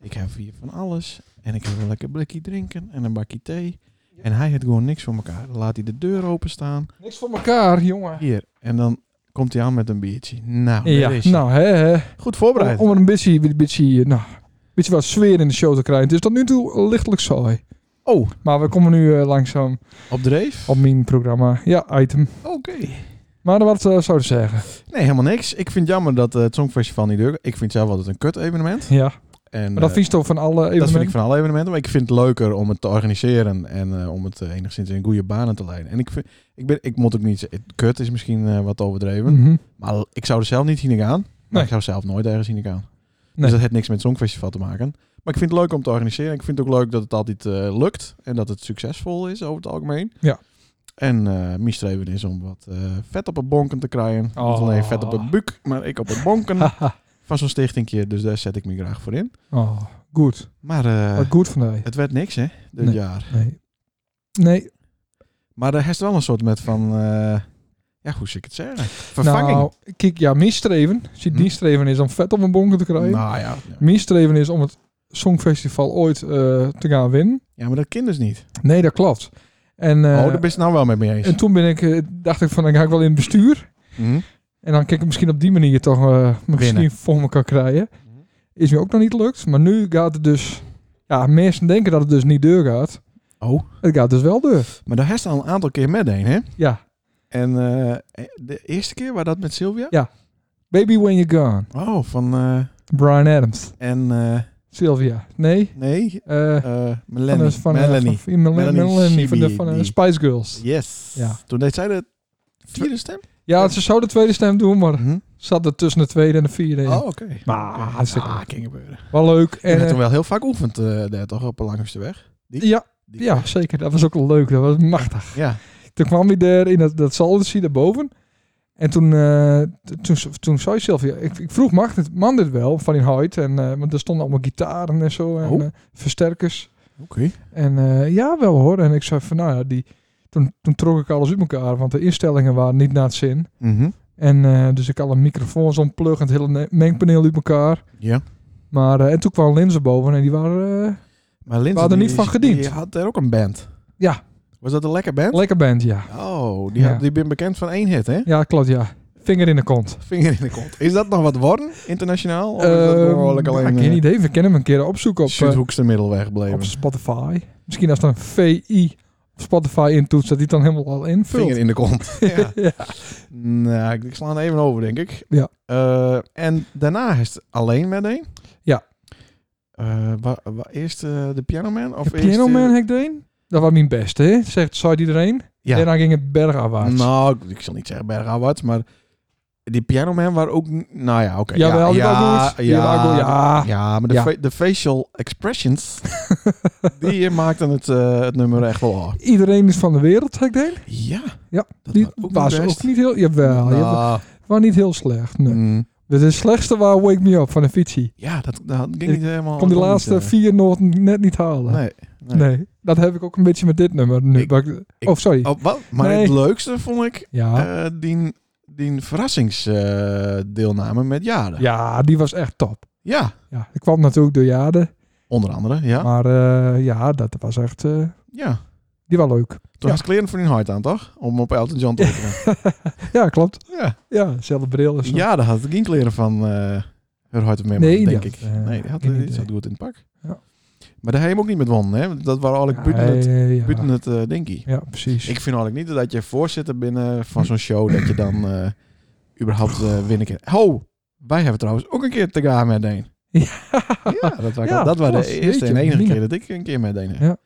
S2: Ik heb hier van alles. En ik heb een lekker blikje drinken en een bakje thee. En hij heeft gewoon niks voor elkaar. Dan laat hij de deur openstaan.
S1: Niks voor elkaar, jongen.
S2: Hier, en dan komt hij aan met een biertje. Nou,
S1: Ja,
S2: daar is hij.
S1: nou hè, hè.
S2: goed voorbereid.
S1: Om, om er een beetje, een beetje, eh, nou, een beetje wat sfeer in de show te krijgen. Het is tot nu toe lichtelijk saai.
S2: Oh,
S1: Maar we komen nu eh, langzaam
S2: op dreef?
S1: op mijn programma. Ja, item.
S2: Oké.
S1: Maar wat eh, zou je zeggen?
S2: Nee, helemaal niks. Ik vind het jammer dat eh, het Songfestival niet deur. Ik vind zelf altijd een kut evenement.
S1: Ja,
S2: En,
S1: maar dat
S2: eh,
S1: vies toch van alle
S2: dat vind ik
S1: evenementen?
S2: van alle evenementen. Maar ik vind het leuker om het te organiseren en eh, om het eh, enigszins in goede banen te leiden. En ik, vind, ik, ben, ik moet ook niet zeggen, kut is misschien eh, wat overdreven.
S1: Mhm.
S2: Maar ik zou er zelf niet heen gaan. Maar
S1: Nee.
S2: ik zou zelf nooit ergens heen gaan.
S1: Nee.
S2: Dus dat heeft niks met het Songfestival te maken. Maar ik vind het leuk om te organiseren. Ik vind het ook leuk dat het altijd eh, lukt. En dat het succesvol is over het algemeen.
S1: Ja.
S2: En eh mijn streven is om wat eh, vet op het bonken te krijgen. Niet
S1: Oh.
S2: alleen vet op het buik, maar ik op het bonken
S1: Haha.
S2: van zo'n stichtingje. Dus daar zet ik me graag voor in.
S1: oh, goed.
S2: Maar eh,
S1: Wat goed van mij.
S2: het werd niks, hè, dit
S1: Nee.
S2: jaar.
S1: Nee. Nee.
S2: Maar er is wel een soort met van... eh, ja, hoe zou ik het zeggen? Vervanging.
S1: Nou, kijk, ja, mijn streven. Zie,
S2: Hm.
S1: die streven is om vet op een bonken te krijgen.
S2: Nou ja.
S1: Mijn streven is om het Songfestival ooit eh, te gaan winnen.
S2: Ja, maar dat kind dus niet.
S1: Nee, dat klopt. En, eh,
S2: oh, daar ben je het nou wel met me eens.
S1: en toen ben ik, eh, dacht ik van, dan ga ik wel in het bestuur.
S2: Mhm.
S1: En dan kijk ik misschien op die manier toch eh misschien
S2: Winnen. Mhm.
S1: voor me kan krijgen. Is me ook nog niet lukt. Maar nu gaat het dus... Ja, mensen denken dat het dus niet deur gaat.
S2: Oh.
S1: Het gaat dus wel deur.
S2: Maar daar heeft al een aantal keer met een, hè?
S1: Ja.
S2: En eh, de eerste keer waar dat met Sylvia?
S1: Baby When You're Gone.
S2: Oh, van... eh,
S1: Brian Adams.
S2: en... eh,
S1: Sylvia. Nee.
S2: nee,
S1: eh,
S2: eh
S1: van
S2: Melanie.
S1: de, van, eh,
S2: Melanie.
S1: van- Melanie,
S2: Melanie
S1: Melanie van de,
S2: Shibi,
S1: van de
S2: die.
S1: Spice Girls.
S2: yes.
S1: Ja.
S2: Toen deed zij de vierde stem?
S1: Ja, ze zou de tweede stem doen, maar
S2: Mhm.
S1: zat er tussen de tweede en de vierde. in.
S2: Oh, oké.
S1: Maar,
S2: Oké.
S1: hartstikke
S2: ah,
S1: leuk.
S2: kan gebeuren.
S1: Wel leuk.
S2: En,
S1: En,
S2: toen
S1: eh,
S2: wel heel vaak oefend eh, daar toch op de langste weg. Die-
S1: ja,
S2: Die
S1: ja,
S2: weg.
S1: zeker. Dat was ook leuk. Dat was machtig.
S2: Ja.
S1: Toen kwam hij daar in dat, dat saldensie daarboven. En toen, eh, t- toen, toen zei Sylvia, ik, ik vroeg, mag dit, man dit wel van in huid? En, eh, want er stonden allemaal gitaren en zo en
S2: Oh.
S1: eh, versterkers.
S2: Oké.
S1: En eh, ja, wel hoor. En ik zei van, nou ja, die, toen, toen trok ik alles uit elkaar, want de instellingen waren niet naar het zin.
S2: Mhm.
S1: En eh, dus ik alle microfoons ontplug en het hele ne- mengpaneel uit elkaar.
S2: Ja.
S1: Maar, eh, en toen kwam Linzen boven en die waren eh,
S2: Maar Lindsay,
S1: We hadden
S2: die
S1: niet van
S2: is-
S1: gediend.
S2: Die had daar ook een band.
S1: Ja.
S2: Was dat een lekker band?
S1: lekker band, ja.
S2: oh, die,
S1: Ja.
S2: had, die ben bekend van één hit, hè?
S1: Ja, klopt, ja. Vinger in de kont.
S2: Vinger in de kont. Is dat nog wat worden, internationaal? Of is Oh, dat
S1: Ehm,
S2: gewoon lekker
S1: ja,
S2: alleen eh.
S1: ik heb geen idee. We kunnen hem een keer opzoeken op, eh,
S2: Zuidhoekse middelweg bleven?
S1: op Spotify. Misschien als er een VI op Spotify intoetst, dat hij het dan helemaal al invult.
S2: Vinger in de kont. ja.
S1: ja.
S2: Nou, ik- ik sla het even over, denk ik.
S1: Ja.
S2: Eh, en daarna is het alleen met één?
S1: Ja.
S2: Eh, wa- wa- eerst eh, de Pianoman? Of
S1: Of
S2: eerst, eh,
S1: Pianoman ik deed. Dat was mijn beste, hè? zegt zei iedereen.
S2: Ja.
S1: Daarna ging het bergafwaarts.
S2: Nou, ik, ik zal niet zeggen Bergawat, maar die Pianoman waren ook... n- Nou ja, oké.
S1: Jawel, die was
S2: ja,
S1: goed. Die was
S2: ja,
S1: goed, ja.
S2: ja, maar de,
S1: Ah, Ja.
S2: fa- de facial expressions, die eh, maakten het, eh, het nummer echt wel af.
S1: Iedereen is van de wereld, heb ik deed.
S2: Ja.
S1: Ja,
S2: dat
S1: Die
S2: was ook
S1: was
S2: niet best.
S1: ook niet heel... Jawel,
S2: Nou,
S1: jawel. was niet heel slecht. Nee.
S2: mm,
S1: De slechtste was Wake Me Up van de Fitchi.
S2: ja, dat, dat ging
S1: Ik
S2: niet helemaal...
S1: Kon die
S2: dat
S1: laatste
S2: niet, eh,
S1: vier noten net niet halen.
S2: Nee. nee.
S1: Nee. dat heb ik ook een beetje met dit nummer. Nu.
S2: Ik-
S1: maar ik-
S2: ik-
S1: oh, sorry.
S2: Oh, wat? Maar
S1: Nee.
S2: het leukste vond ik
S1: ja.
S2: eh, die, die verrassingsdeelname met jaren.
S1: ja, die was echt top.
S2: Ja.
S1: Ja, ik kwam natuurlijk door Jade.
S2: Onder andere, ja.
S1: Maar eh, ja, dat was echt... eh,
S2: Ja.
S1: die was leuk.
S2: Toen was kleren voor hun hart aan, toch? Om op Elton John te openen.
S1: Ja, klopt.
S2: ja.
S1: Ja, zelfde bril. en zo.
S2: ja, daar had ik geen kleren van eh haar hart mee,
S1: Nee,
S2: denk
S1: ja.
S2: ik.
S1: Eh,
S2: nee, die had,
S1: geen
S2: die
S1: idee.
S2: zat goed in het pak.
S1: Ja.
S2: Maar daar heb je hem ook niet met wonnen, hè? Dat waren eigenlijk
S1: Ja,
S2: buiten het,
S1: eh, ja.
S2: buiten het eh, dinkie.
S1: Ja, precies.
S2: Ik vind eigenlijk niet dat je voorzitter binnen van zo'n show dat je dan eh, überhaupt
S1: Oh.
S2: eh winnen kan. Ho, wij hebben trouwens ook een keer te gaan met een. Ja, dat was,
S1: Ja,
S2: dat was
S1: klas.
S2: de eerste en
S1: Jeetje,
S2: enige
S1: Mina.
S2: keer dat ik een keer met een heb.
S1: Ja.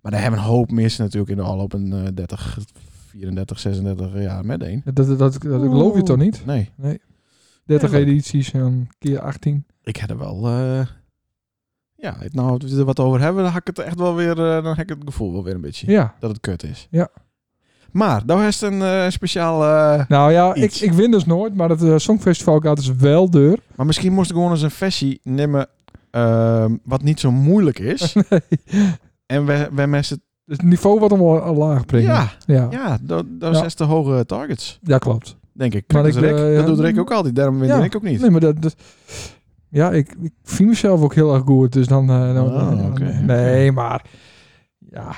S2: Maar daar hebben een hoop mensen natuurlijk in de al op een eh, 30, 34, 36 jaar met een.
S1: Dat, dat, dat, dat geloof je toch niet?
S2: Nee,
S1: 30
S2: Ja, leuk.
S1: edities en keer 18.
S2: ik had er wel. eh, ja, het- nou, als we er wat over hebben, dan heb ik het echt wel weer. eh, dan heb ik het gevoel wel weer een beetje
S1: Ja.
S2: dat het kut is.
S1: Ja.
S2: Maar, nou is een eh, speciaal. eh,
S1: Nou ja, ik,
S2: Iets.
S1: ik win dus nooit, maar het eh, Songfestival gaat dus wel deur.
S2: Maar misschien moest ik gewoon eens een versie nemen ehm, wat niet zo moeilijk is. En we, we mensen...
S1: Dus het niveau wat omlaag omlaag brengen.
S2: Ja,
S1: Ja, ja.
S2: ja, dat dat
S1: Ja.
S2: zijn te hoge targets,
S1: klopt.
S2: denk ik.
S1: Maar
S2: dat,
S1: ik,
S2: is Rick.
S1: eh,
S2: dat doet
S1: ja.
S2: Rick ook altijd, daarom wint
S1: Ja.
S2: ik ook niet.
S1: Nee, maar dat... dat- ja, ik, ik vind mezelf ook heel erg goed, dus dan... eh, dan-
S2: Ah,
S1: dan-
S2: oké,
S1: nee, maar... Ja.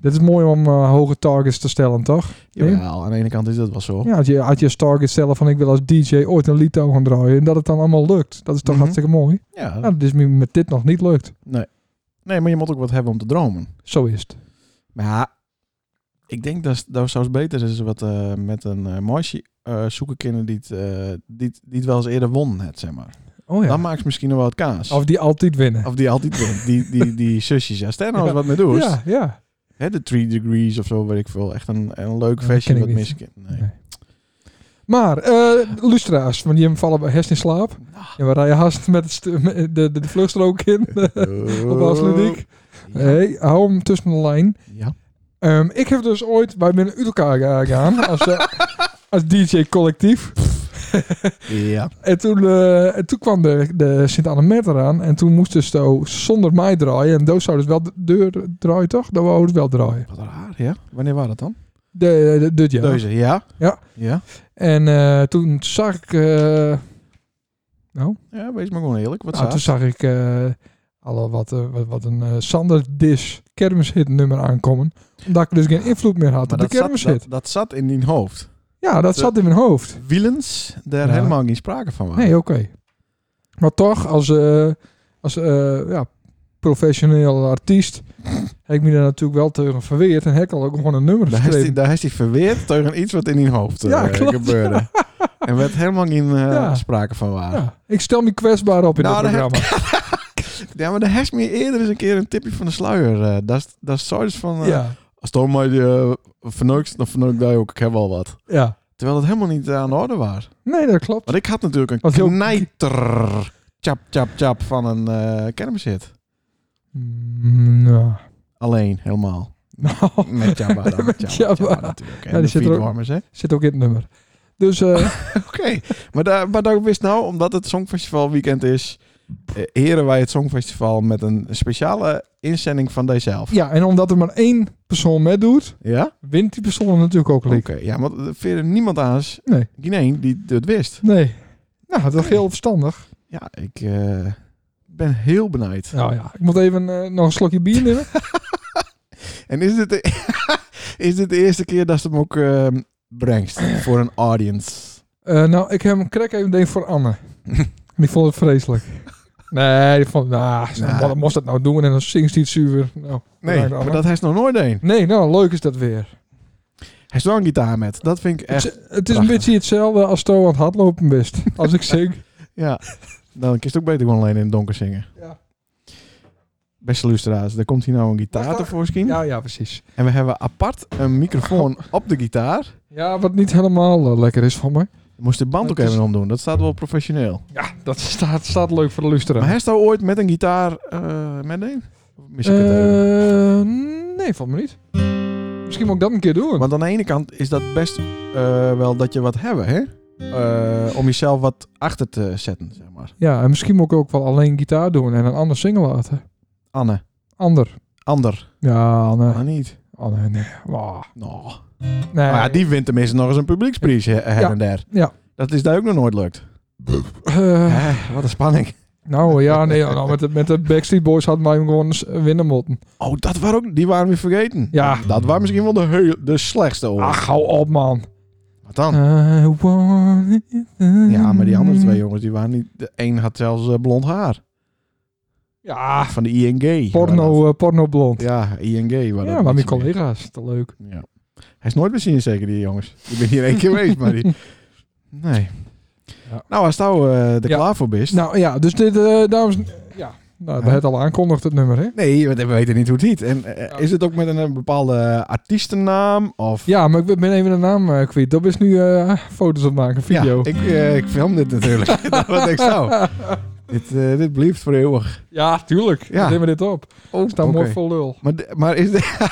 S1: Dit is mooi om eh, hoge targets te stellen, toch?
S2: Jawel, aan de ene kant is dat wel zo.
S1: Ja, als je, als je als target stellen van ik wil als DJ ooit een lied gaan draaien... en dat het dan allemaal lukt. Dat is toch
S2: Mhm.
S1: hartstikke mooi?
S2: Ja.
S1: Nou, dat is me- met dit nog niet lukt.
S2: Nee, maar je moet ook wat hebben om te dromen.
S1: Zo is het.
S2: Maar ja, ik denk dat, dat zou het beter is wat eh, met een eh meisje eh, zoeken kunnen die het, eh, die, het- die het wel eens eerder won, het, zeg maar.
S1: Oh ja.
S2: Dan maakt ze misschien nog wel het kaas. Of,
S1: Of die altijd winnen.
S2: die altijd wint. Die, die, die zusjes, ja, stel nou eens wat mee doet.
S1: ja, ja.
S2: Hè, de Three Degrees of zo, weet ik veel. Echt een, een leuk
S1: dat
S2: versie
S1: ken
S2: wat
S1: ik niet.
S2: mensen kennen. Nee.
S1: Nee. Maar, eh lustra's, want die vallen bij hersen in slaap.
S2: Nou.
S1: En we rijden haast met, het stu- met de, de, de vluchtstrook in op Afsluitdijk.
S2: Oh, Ja.
S1: Nee, hou hem tussen de lijn.
S2: Ja.
S1: Ehm, ik heb dus ooit, wij binnen uit elkaar ga- gegaan als, eh, als DJ-collectief.
S2: ja.
S1: En toen, eh, en toen kwam de, de Sint-Annemet eraan. En toen moesten ze zo zonder mij draaien. En Doos zou dus wel de deur draaien, toch? Dat wou het wel draaien.
S2: Wat raar, ja. Wanneer waren dat dan?
S1: De, de, dit jaar.
S2: Deze, ja.
S1: Ja.
S2: Ja.
S1: En eh, toen zag ik... eh,
S2: Ja, wees maar gewoon eerlijk. Wat
S1: Nou, toen
S2: zaad?
S1: zag ik eh alle wat, eh, wat, wat een eh, Sander Dis kermishit nummer aankomen. Omdat ik dus geen invloed meer had op
S2: Maar
S1: de
S2: dat, zat,
S1: kermishit.
S2: dat, dat zat in die hoofd.
S1: ja, dat
S2: de-
S1: zat in mijn hoofd.
S2: Wielens, daar
S1: Ja.
S2: helemaal geen sprake van waren.
S1: Nee, oké. Maar toch, als, eh, als eh, ja, professioneel artiest, heb ik me daar natuurlijk wel tegen verweerd. En heb ik al ook gewoon een nummer
S2: Daar is, hij,
S1: geschreven.
S2: daar is hij verweerd tegen iets wat in die hoofd eh,
S1: Ja, klopt.
S2: gebeurde. En werd helemaal geen eh,
S1: Ja.
S2: sprake van waren. Ja,
S1: Ja, ik stel me kwetsbaar op in
S2: Nou,
S1: dit
S2: daar
S1: programma.
S2: maar de herst meer eerder eens een keer een tipje van de sluier. eh, dat is- dat is zoiets van... eh,
S1: ja,
S2: Als Tom mij eh, verneukt, dan verneuk jij ook. Ik heb al wat.
S1: ja.
S2: Terwijl het helemaal niet aan de orde was.
S1: Nee, dat klopt.
S2: Want ik had natuurlijk een
S1: Wat heel-
S2: knijter... Chap, chap, chap van een eh kermishit.
S1: Mm, nou.
S2: Alleen, helemaal.
S1: nou,
S2: Met Jabba dan.
S1: Met
S2: Jabba,
S1: Jabba.
S2: Jabba natuurlijk. En
S1: die
S2: de
S1: zit er ook-
S2: Freedomers, hè.
S1: zit ook in het nummer. Dus eh,
S2: Oké, maar, daar, maar daar wist nou, omdat het Songfestival weekend is, eh, heren wij het Songfestival met een speciale inzending van dijzelf.
S1: ja, en omdat er maar één persoon meedoet,
S2: Ja?
S1: wint die persoon natuurlijk ook
S2: Oké,
S1: leuk.
S2: ja, want er veerde niemand aan is,
S1: Nee.
S2: geen één die het wist.
S1: Nee. Nou, dat is heel verstandig.
S2: Ja, ik eh, ben heel benijd.
S1: Nou ja, ik moet even eh, nog een slokje bier nemen.
S2: En is dit, de, is dit de eerste keer dat ze hem ook eh, brengt voor een audience?
S1: Eh, nou, ik heb een crack even deed voor Anne. die vond het vreselijk. Nee, die vond, nou, ze-
S2: Nou.
S1: wat moest dat nou doen? En dan zingt ze iets zuur. Nou,
S2: Nee,
S1: bedankt, Anne.
S2: maar dat hij is nog nooit een.
S1: nee, nou, leuk is dat weer.
S2: Hij is wel een gitaar met. Dat vind ik
S1: Het,
S2: echt.
S1: is- het is een
S2: prachtig.
S1: beetje hetzelfde als Toe aan het hardlopen best. Als ik zing.
S2: Ja, dan kun je het ook beter gewoon alleen in het donker zingen.
S1: Ja.
S2: Beste luisteraars, daar komt hier nou een
S1: Wacht,
S2: gitaar
S1: wacht.
S2: tevoorschijn.
S1: ja, ja, precies.
S2: En we hebben apart een microfoon op de gitaar.
S1: Ja, wat niet helemaal eh, lekker is voor mij.
S2: Je moest de band
S1: Dat
S2: ook
S1: is-
S2: even omdoen. Dat staat wel professioneel.
S1: Ja, dat staat, staat leuk voor de luisteraar.
S2: Maar hij staat ooit met een gitaar eh met een? Of mis ik het even?
S1: Eh, nee, valt me niet. Misschien moet ik dat een keer doen.
S2: Want aan de ene kant is dat best eh, wel dat je wat hebben, hè? Eh, om jezelf wat achter te zetten, zeg maar.
S1: Ja, en misschien moet ik ook wel alleen gitaar doen en een ander zingen laten.
S2: Anne.
S1: Ander.
S2: Ander.
S1: Ja, Anne.
S2: Maar niet.
S1: Anne, Oh, nee. Wauw.
S2: Nou. Maar
S1: Nee.
S2: ja, die wint tenminste nog eens een publieksprijs hè, her
S1: Ja.
S2: en der.
S1: Ja.
S2: Dat is daar ook nog nooit lukt.
S1: Eh,
S2: Eh, wat een spanning.
S1: Nou ja, nee, ja, nou, met, de, met de Backstreet Boys hadden wij hem gewoon eens eh, winnen moeten.
S2: Oh, dat waren ook, die waren we vergeten.
S1: Ja.
S2: Dat waren misschien wel de, heel- de slechtste ooit.
S1: Ach, hou op, man. Eh,
S2: Wat dan?
S1: I want it.
S2: Oh. Ja, maar die andere twee jongens, die waren niet... De een had zelfs eh, blond haar.
S1: Ja,
S2: Van de ING.
S1: porno, eh, porno blond.
S2: Ja, ING. waren
S1: Ja,
S2: dat
S1: maar mijn
S2: mensen meer.
S1: collega's, te leuk.
S2: Ja. Hij is nooit meer zien, zeker die jongens. Ik ben hier één keer geweest, maar die... Nee.
S1: Ja.
S2: Nou, als nou eh er
S1: Ja.
S2: klaar voor bent...
S1: Nou ja, dus dit, eh, dames... Ja, nou, we
S2: Ja.
S1: het al aankondigd, het nummer, hè?
S2: Nee, want we weten niet hoe het heet. En eh,
S1: Ja.
S2: is het ook met een, eh, bepaalde artiestennaam? Of...
S1: Ja, maar ik ben even de naam eh, kwijt. Dat is nu eh, foto's opmaken,
S2: Ja,
S1: video.
S2: ik, eh, ik film dit natuurlijk. Dat Wat ik zou. Dit, eh dit blijft voor eeuwig.
S1: Ja, tuurlijk.
S2: Ja.
S1: Ja. Neem maar dit op.
S2: Oh,
S1: Ik sta mooi vol lul.
S2: Maar, de- maar is de,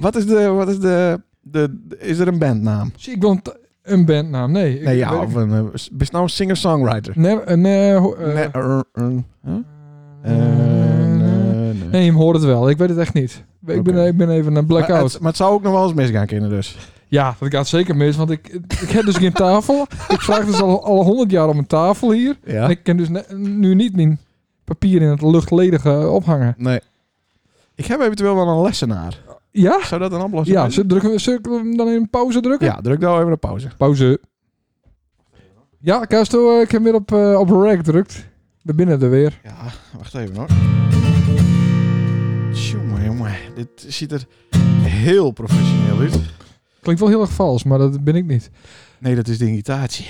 S2: wat is de, wat is de, de, de- is er een bandnaam?
S1: Zie ik wel een, t- een bandnaam? Nee. ik
S2: Nee, ja,
S1: weet
S2: of
S1: ik-
S2: een, eh, s- best nou een singer-songwriter.
S1: Nee, een... eh, ho- eh,
S2: Nee, eh, eh, huh? Eh,
S1: eh,
S2: nee, nee.
S1: Nee, hem hoort het wel. Ik weet het echt niet. Ik,
S2: Oké.
S1: ben, ik ben even een
S2: Maar
S1: blackout.
S2: het, maar het zou ook nog wel eens misgaan kunnen dus.
S1: Ja, dat gaat zeker mis, want ik, ik heb dus geen tafel. Ik vraag dus al, al 100 jaar om een tafel hier.
S2: Ja?
S1: En ik kan dus ne- nu niet mijn papier in het luchtledige ophangen.
S2: Nee. Ik heb eventueel wel een lessenaar.
S1: Ja?
S2: Zou dat een oplossing
S1: Ja,
S2: zijn?
S1: ze drukken, zullen we hem dan in pauze drukken?
S2: Ja, druk nou even een pauze.
S1: Pauze. Ja, Castro, eh, ik heb weer op, eh, op rack drukt. We binnen er weer.
S2: Ja, wacht even hoor. Jongen, jongen. Dit ziet er heel professioneel uit.
S1: Klinkt wel heel erg vals, maar dat ben ik niet.
S2: Nee, dat is de irritatie.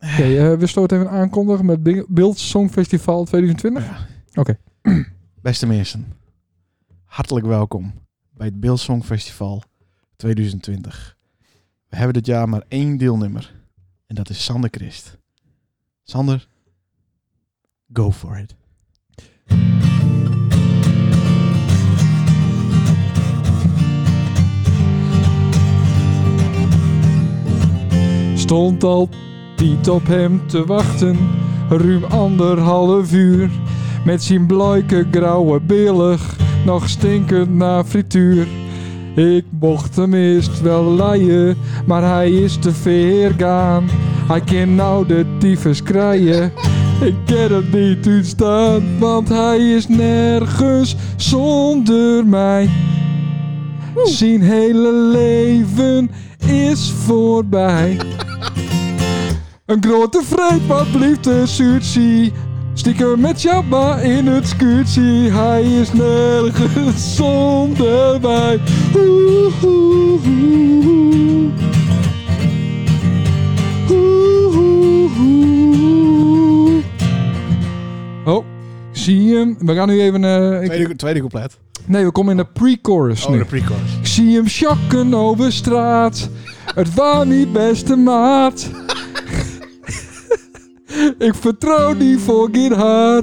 S1: Oké, eh, we stoten even aankondigen met Bing- Beeld Songfestival 2020.
S2: Beste mensen, hartelijk welkom bij het Beeld Song Festival 2020. We hebben dit jaar maar één deelnemer en dat is Sander Christ. Sander, go for it.
S1: Stond al Piet op hem te wachten, ruim anderhalf uur. Met zijn bluike grauwe billig, nog stinkend naar frituur. Ik mocht hem eerst wel leien, maar hij is te ver gaan. Hij kan nou de tyfus krijgen. Ik ken het niet uitstaan, want hij is nergens zonder mij. Zijn hele leven is voorbij. Een grote vreet, wat blieft de sushi. Stiekem met Jabba in het scuutje. Hij is nergens zonder mij. Oeh, oeh, oeh. Oeh, oeh, oeh. Oh, zie je hem? We gaan nu even... eh, ik-
S2: Tweede, tweede couplet.
S1: Nee, we komen in de pre-chorus
S2: Oh,
S1: nu.
S2: de pre-chorus.
S1: Ik zie hem sjokken over straat. Het was niet beste maat. Ik vertrouw die voor geen haar.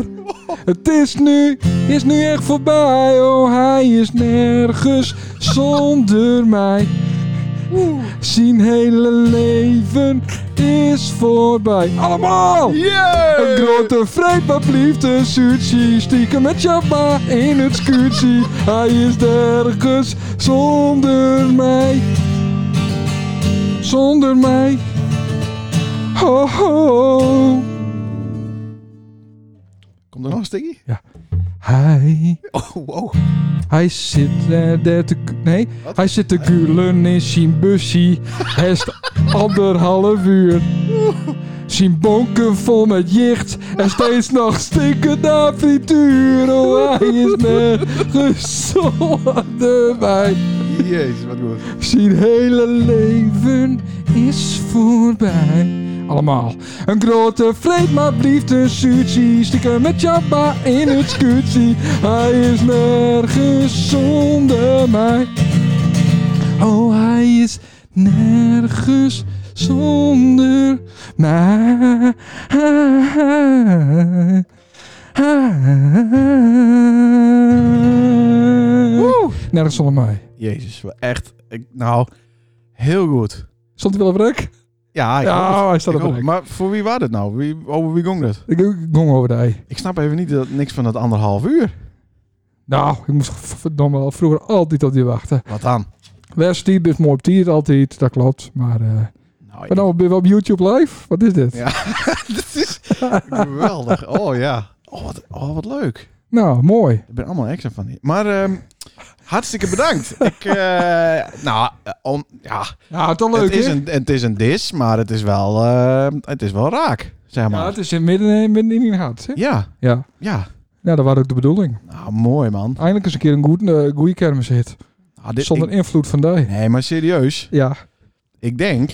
S1: Het is nu, is nu echt voorbij. Oh, hij is nergens zonder mij. Zijn hele leven is voorbij. Allemaal! Een grote vreet, wat blieft een sushi. Stiekem met Jabba in het scuutje. Hij is nergens zonder mij. Zonder mij. Ho, ho.
S2: Komt er nog een stukje?
S1: Hij,
S2: Oh, wow.
S1: hij zit eh, daar te... gu- Nee,
S2: Wat?
S1: hij zit te gulen in zijn bussie. Hij is anderhalf uur. Zijn bonken vol met jicht. En steeds nog stinken naar frituur. Oh, hij is nergens zonder mij.
S2: Jezus, wat goed.
S1: Zijn hele leven is voorbij. Allemaal. Een grote vreet, maar blieft een sushi. Stiekem met Jabba in het scuutje. Hij is nergens zonder mij. Oh, hij is nergens zonder mij. Nergens zonder mij.
S2: Jezus, wel echt. Ik, nou, heel goed.
S1: Stond hij wel op rek?
S2: Ja, ik
S1: Ja,
S2: hoop het.
S1: hij staat
S2: Ik
S1: op de
S2: hoop het.
S1: rek.
S2: Maar voor wie was het nou? Wie, over wie ging dat?
S1: Ik ik gong over de ei.
S2: Ik snap even niet dat niks van dat anderhalf uur.
S1: Nou, ik moest verdomme wel vroeger altijd op die wachten.
S2: Wat dan?
S1: West Diep is mooi op tiert altijd, dat klopt. Maar eh
S2: Nou,
S1: maar nou ben je wel op YouTube live? Wat is dit?
S2: Ja. dit is geweldig. Oh ja. Oh, wat, oh, wat leuk.
S1: Nou, mooi.
S2: Ik ben allemaal extra van hier. Maar ehm, hartstikke bedankt. ik, eh, nou, eh, on- ja,
S1: Ja, toch leuk,
S2: het, is
S1: hè?
S2: een, het is een dis, maar het is wel, ehm, het is wel raak, zeg
S1: Ja,
S2: maar.
S1: het is in midden, eh, midden in een gat, hè?
S2: Ja,
S1: Ja.
S2: ja.
S1: Ja, dat was ook de bedoeling.
S2: Nou, mooi man.
S1: Eindelijk eens een keer een goed, eh, goeie kermis hit.
S2: Nou, dit,
S1: Zonder
S2: ik-
S1: invloed van die.
S2: nee, maar serieus.
S1: Ja, dat
S2: Ik denk...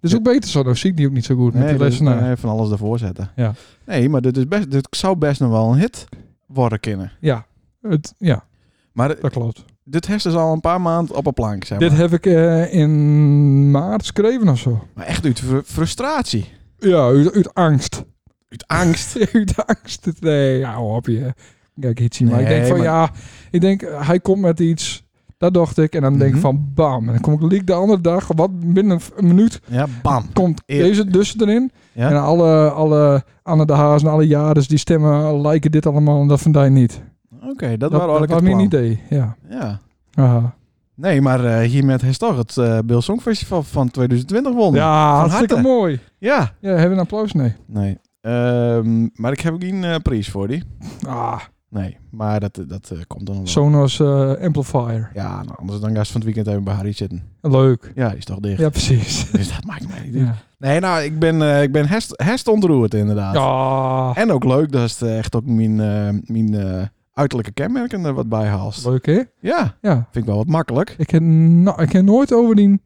S1: is ook beter zo. Dan zie ik die ook niet zo goed met
S2: Nee,
S1: de
S2: dus,
S1: lessenaar.
S2: nee, van alles ervoor zetten.
S1: Ja.
S2: Nee, maar dit, is best, dit zou best nog wel een hit worden kunnen.
S1: Ja, het, ja,
S2: Maar
S1: dat klopt.
S2: dit heeft dus al een paar maanden op een plank, zeg maar.
S1: Dit heb ik eh, in maart geschreven of zo.
S2: Maar echt uit fr- frustratie.
S1: Ja, uit, uit angst.
S2: Uit angst.
S1: uit angst. Nee, ja, hou op je. Kijk, iets zien. Maar ik
S2: Nee,
S1: denk van
S2: maar-
S1: ja, ik denk eh, hij komt met iets. Dat dacht ik. En dan denk ik
S2: Mhm.
S1: van bam. En dan kom ik liek de andere dag, wat binnen een, een minuut,
S2: Ja, bam.
S1: komt
S2: Eer-
S1: deze dus erin.
S2: Ja.
S1: En alle, alle Anne de Haas en alle Jades die stemmen, liken dit allemaal en dat van die niet.
S2: Oké, dat, waren
S1: dat
S2: eigenlijk
S1: was
S2: het
S1: mijn
S2: plan.
S1: idee. Ja.
S2: Ja.
S1: Aha.
S2: Nee, maar eh, hiermee heeft toch het eh Bill Song Festival van 2020 gewonnen.
S1: Ja, hartstikke
S2: harte.
S1: mooi.
S2: Ja.
S1: Ja, hebben we een applaus? Nee.
S2: Nee. Ehm, maar ik heb ook geen eh, prijs voor die.
S1: Ah,
S2: Nee, maar dat, dat eh, komt dan wel.
S1: Sonos eh, Amplifier.
S2: Ja, nou, anders dan ga je van het weekend even bij Harry zitten.
S1: Leuk.
S2: Ja, die is toch dicht.
S1: Ja, precies.
S2: Dus dat maakt mij niet uit.
S1: Ja.
S2: Nee, nou, ik ben, eh, ik ben hest, hest ontroerd inderdaad.
S1: ja.
S2: En ook leuk, dat is eh, echt ook mijn, eh, mijn eh, uiterlijke kenmerken er wat bij haalt.
S1: Leuk, hè?
S2: Ja,
S1: Ja.
S2: vind ik wel wat makkelijk.
S1: Ik heb, nou, ik heb nooit over die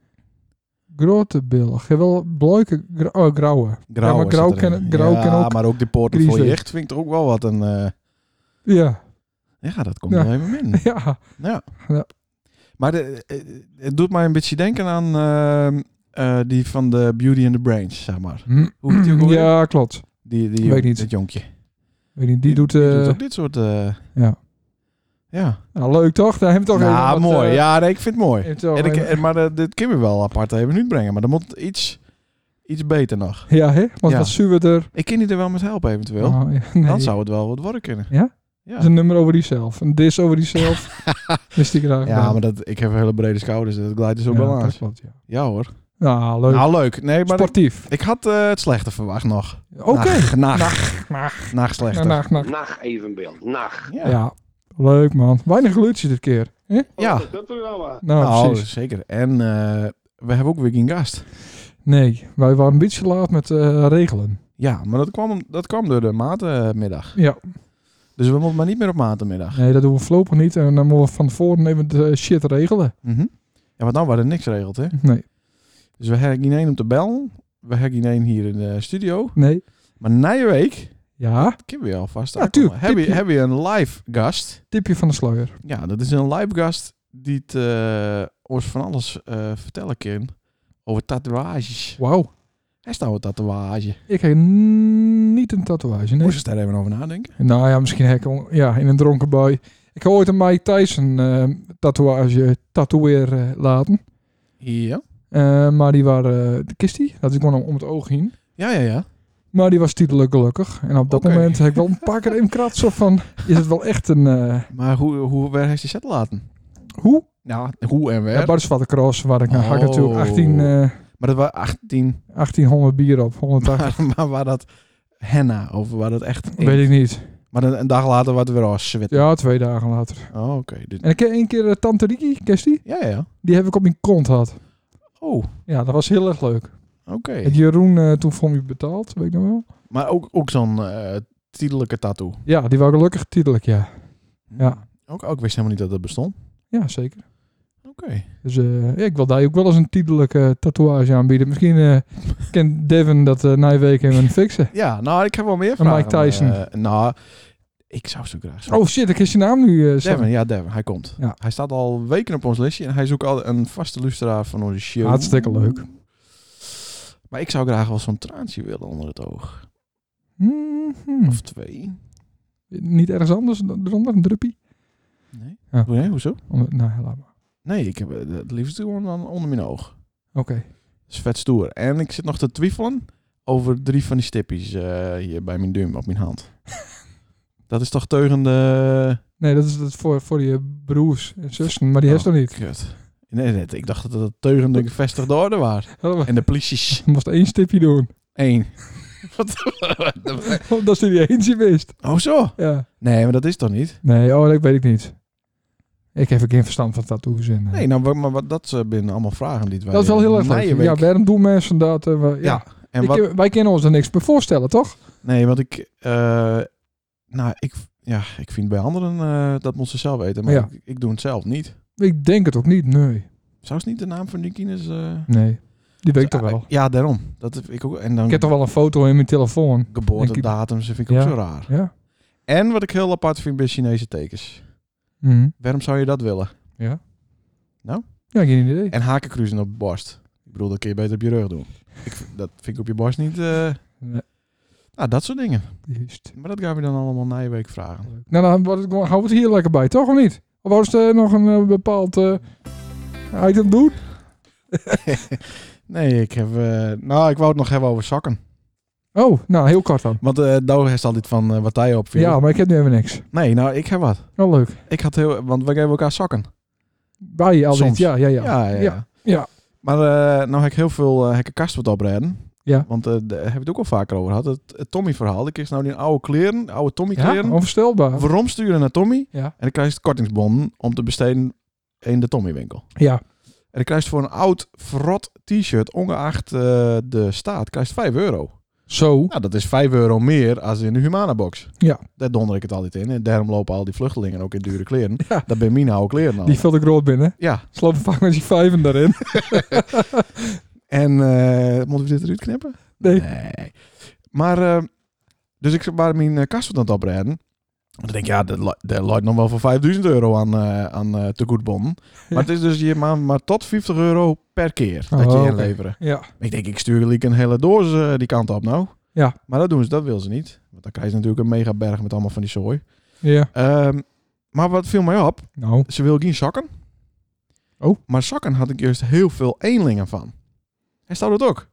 S1: grote bil. Ik heb wel bloike, gra- oh, grauwe.
S2: Grauw
S1: ja, maar grauw
S2: zit erin.
S1: kan, grauw
S2: ja,
S1: kan ook.
S2: maar ook die poorten
S1: griezen.
S2: voor je echt vind ik er ook wel wat een... eh,
S1: Ja,
S2: ja, dat komt
S1: Ja.
S2: wel even in.
S1: ja.
S2: Ja.
S1: Ja.
S2: Maar de, eh, het doet mij een beetje denken aan eh, eh, die van de Beauty and the Brains, zeg maar. Hoe heet die ook alweer?
S1: Ja, klopt.
S2: Die, die,
S1: Weet niet.
S2: Dat jonkje.
S1: Weet niet, die doet... eh,
S2: doet ook dit soort... eh,
S1: Ja.
S2: Ja.
S1: nou, leuk toch? Daar hebben we
S2: Nou,
S1: toch even wat,
S2: mooi.
S1: eh,
S2: ja, nee, ik vind het mooi.
S1: even toch
S2: En ik,
S1: even-
S2: en- maar eh, dit kunnen we wel apart even nu brengen. Maar dan moet het iets, iets beter nog.
S1: Ja, hè? Want
S2: Ja.
S1: wat zuurder.
S2: Ik kan die er wel met helpen eventueel.
S1: Oh, ja, nee.
S2: Dan zou het wel wat worden kunnen.
S1: Ja?
S2: Ja,
S1: Dat is een nummer over diezelf. Een dis over diezelf. Wist ik graag.
S2: ja maar dat, ik heb hele brede schouders. Dat glijdt dus ook wel aan.
S1: Dat klopt, ja.
S2: Ja hoor.
S1: Nou, leuk.
S2: Nou, leuk. Nee, maar ik,
S1: Sportief.
S2: ik had eh, het slechte verwacht nog.
S1: Oké. Nou,
S2: Nacht, nacht,
S1: Nacht, nacht,
S2: nacht slechter.
S1: nacht, nacht.
S3: Nacht evenbeeld, nacht.
S2: Ja.
S1: nou. Ja, leuk man. Weinig glutjes dit keer. hè?
S2: Ja.
S3: Wat is dat er nou aan?
S1: Nou,
S2: Nou,
S1: precies.
S2: zeker. En eh, we hebben ook weer geen gast.
S1: Nee, wij waren een beetje laat met eh, regelen.
S2: Ja, maar dat kwam, dat kwam door de matenmiddag.
S1: Ja.
S2: Dus we moeten maar niet meer op matenmiddag.
S1: Nee, dat doen we voorlopig niet. En dan moeten we van tevoren even de shit regelen.
S2: Mhm. Ja, want nou waren er niks regeld, hè?
S1: Nee.
S2: Dus we hebben geen één om te bellen. We hebben geen één hier in de studio.
S1: Nee.
S2: Maar na je week,
S1: Ja,
S2: dat kunnen we alvast
S1: Ja,
S2: aankomen.
S1: tuurlijk.
S2: Heb je,
S1: Tipje.
S2: heb je een live gast?
S1: tipje van de sluier.
S2: Ja, dat is een live gast die het, eh, ons van alles eh, vertellen kan over tatoeages.
S1: Wauw.
S2: Hij is nou een tatoeage.
S1: Ik heb n- niet een tatoeage, nee.
S2: Moest je daar even over nadenken?
S1: Nou ja, misschien heb ik on- ja, in een dronken bui. Ik heb ooit een Mike Tyson eh, tatoeage tatoeëer eh, laten.
S2: Ja.
S1: Eh, maar die waren... eh, de kist die? Dat is gewoon om het oog heen.
S2: Ja, ja, ja.
S1: Maar die was titelijk gelukkig. En op dat
S2: Oké.
S1: moment heb ik wel een paar keer in krat zo van... Is het wel echt een... eh,
S2: Maar hoe, hoe waar heeft je zet laten?
S1: hoe?
S2: Nou, hoe en waar?
S1: Ja, Bart Zwatte Cross, waar ik naar hak
S2: Oh.
S1: natuurlijk 18, eh,
S2: maar dat was 18.
S1: 1800 bier op, 180,
S2: maar waar dat henna of waar dat echt.
S1: weet ik niet.
S2: Maar een, een dag later wat weer als zwit.
S1: Ja, twee dagen later.
S2: Oh, oké. Dus-
S1: En ik heb één keer eh, Tante Riki, kent die?
S2: Ja, ja.
S1: Die heb ik op mijn kont gehad.
S2: Oh, oké.
S1: Ja, dat was heel erg leuk. Het Jeroen eh, toen voor me betaald, weet ik nog wel.
S2: Maar ook, ook zo'n eh tijdelijke tattoo.
S1: Ja, die wou gelukkig titelijk, ja.
S2: Hmm.
S1: Ja.
S2: Ook, ook wist helemaal niet dat dat bestond.
S1: Ja, zeker.
S2: Oké.
S1: Dus eh, ja, ik wil daar ook wel eens een titelijke tatoeage aanbieden. Misschien eh, kent Devin dat eh na een week even fixen.
S2: Ja, nou, ik heb wel meer
S1: En
S2: vragen.
S1: Mike Tyson.
S2: Eh, nou, ik zou zo graag zo.
S1: Oh shit, ik is je naam nu. eh, staan.
S2: Devin, ja, Devin, hij komt.
S1: Ja.
S2: Hij staat al weken op ons listje en hij zoekt al een vaste luisteraar van onze show.
S1: Hartstikke leuk.
S2: Maar ik zou graag wel zo'n traantje willen onder het oog.
S1: Mhm.
S2: Of twee.
S1: Niet ergens anders dan eronder, een druppie?
S2: Nee.
S1: Ja.
S2: Hoe- nee, hoezo?
S1: Onder- nou, laat maar.
S2: Nee, ik heb eh, het liefst gewoon dan onder mijn oog.
S1: Oké.
S2: Dat is vet stoer. En ik zit nog te twijfelen over drie van die stippies eh, hier bij mijn duim op mijn hand. dat is toch tegen de...
S1: Nee, dat is dat voor, voor je broers en zussen, maar die heeft
S2: Oh,
S1: er niet.
S2: Kut. Nee, nee, ik dacht dat dat tegen de gevestigde orde was.
S1: Helemaal-
S2: En de polities.
S1: Je moest één stipje doen.
S2: Eén.
S1: Omdat ze die eentje wist.
S2: Oh zo?
S1: Ja.
S2: Nee, maar dat is toch niet?
S1: Nee, oh, dat weet ik niet. Ik heb geen verstand van tattoos. En, eh,
S2: Nee, nou, wa- maar wat, dat eh, binnen allemaal vragen die wij...
S1: dat is wel heel erg
S2: na je
S1: leuk.
S2: week-
S1: Ja, waarom doen mensen dat? eh, wa- ja.
S2: Ja, en
S1: Ik-
S2: wat...
S1: wij kunnen ons er niks bij voorstellen, toch?
S2: Nee, want ik... eh, nou, ik, ja, ik vind bij anderen eh, dat moeten ze zelf weten. Maar
S1: Ja.
S2: ik, ik doe het zelf niet.
S1: Ik denk het ook niet, nee.
S2: Zou het niet de naam van die kines... eh,
S1: Nee, die weet ik toch
S2: zou-
S1: wel.
S2: Dus, eh, Ja, daarom. Dat heb ik ook... En dan
S1: Ik heb toch wel een foto in mijn telefoon.
S2: geboortedatums dat vind ik
S1: Ja.
S2: ook zo raar.
S1: Ja.
S2: En wat ik heel apart vind bij Chinese tekens.
S1: Mhm.
S2: Waarom zou je dat willen?
S1: Ja, geen idee.
S2: En hakenkruisen op de borst. Ik bedoel, dat kun je beter op je rug doen. Ik, v- dat vind ik op je borst niet... eh,
S1: Nee,
S2: nou, dat soort dingen.
S1: juist.
S2: Maar dat gaan we dan allemaal na je week vragen.
S1: Nou, dan wordt het gewoon- houden we het hier lekker bij, toch of niet? Of was er nog een eh, bepaald eh, item doen?
S2: Nee, ik heb... eh, nou, ik wou het nog hebben over sokken.
S1: Oh, nou, heel kort dan.
S2: Want eh Douwe heeft altijd van eh, wat hij op vindt.
S1: Ja, maar ik heb nu even niks.
S2: Nee, nou, ik heb wat.
S1: Wel leuk.
S2: Ik had heel... Want we geven elkaar sokken.
S1: Bij al
S2: Soms.
S1: dit, ja, ja, ja.
S2: Ja, ja.
S1: Ja, ja.
S2: Maar eh, nou heb ik heel veel eh heb ik een kast wat oprijden.
S1: Ja.
S2: Want eh daar heb ik het ook al vaker over gehad. Het, het Tommy-verhaal. Ik kreeg nou die oude kleren, oude
S1: Ja,
S2: Tommy-kleren.
S1: onvoorstelbaar.
S2: Waarom sturen naar Tommy?
S1: Ja.
S2: En dan krijg je het kortingsbonnen om te besteden in de Tommy-winkel.
S1: Ja,
S2: En dan krijg je voor een oud, verrot t-shirt, ongeacht eh, de staat, krijg je 5 euro.
S1: zo.
S2: Nou, dat is 5 euro meer als in de Humana-box.
S1: Ja.
S2: Daar donder ik het altijd in. En daarom lopen al die vluchtelingen ook in dure kleren.
S1: Ja.
S2: Dat ben mijn oude kleren al.
S1: Die vult ik rood binnen.
S2: Ja.
S1: Slopen vaak met die vijven daarin.
S2: En eh moeten we dit eruit knippen?
S1: Nee.
S2: Maar, eh, dus ik waar mijn eh, kast wat aan het oprijden. En Dan denk ik, ja, dat li- daar loopt nog wel voor 5000 euro aan, eh aan eh tegoedbonnen.
S1: Ja.
S2: Maar het is dus je maar, maar tot 50 euro per keer dat
S1: Oh,
S2: je
S1: oké.
S2: inleveren.
S1: Ja.
S2: Ik denk, ik stuur gelijk een hele doos eh, die kant op nou.
S1: Ja.
S2: Maar dat doen ze, dat wil ze niet. Want dan krijg je natuurlijk een mega berg met allemaal van die zooi.
S1: Ja.
S2: Ehm, maar wat viel mij op,
S1: Nou.
S2: ze wil geen zakken.
S1: Oh.
S2: Maar zakken had ik juist heel veel eenlingen van. En staat dat ook?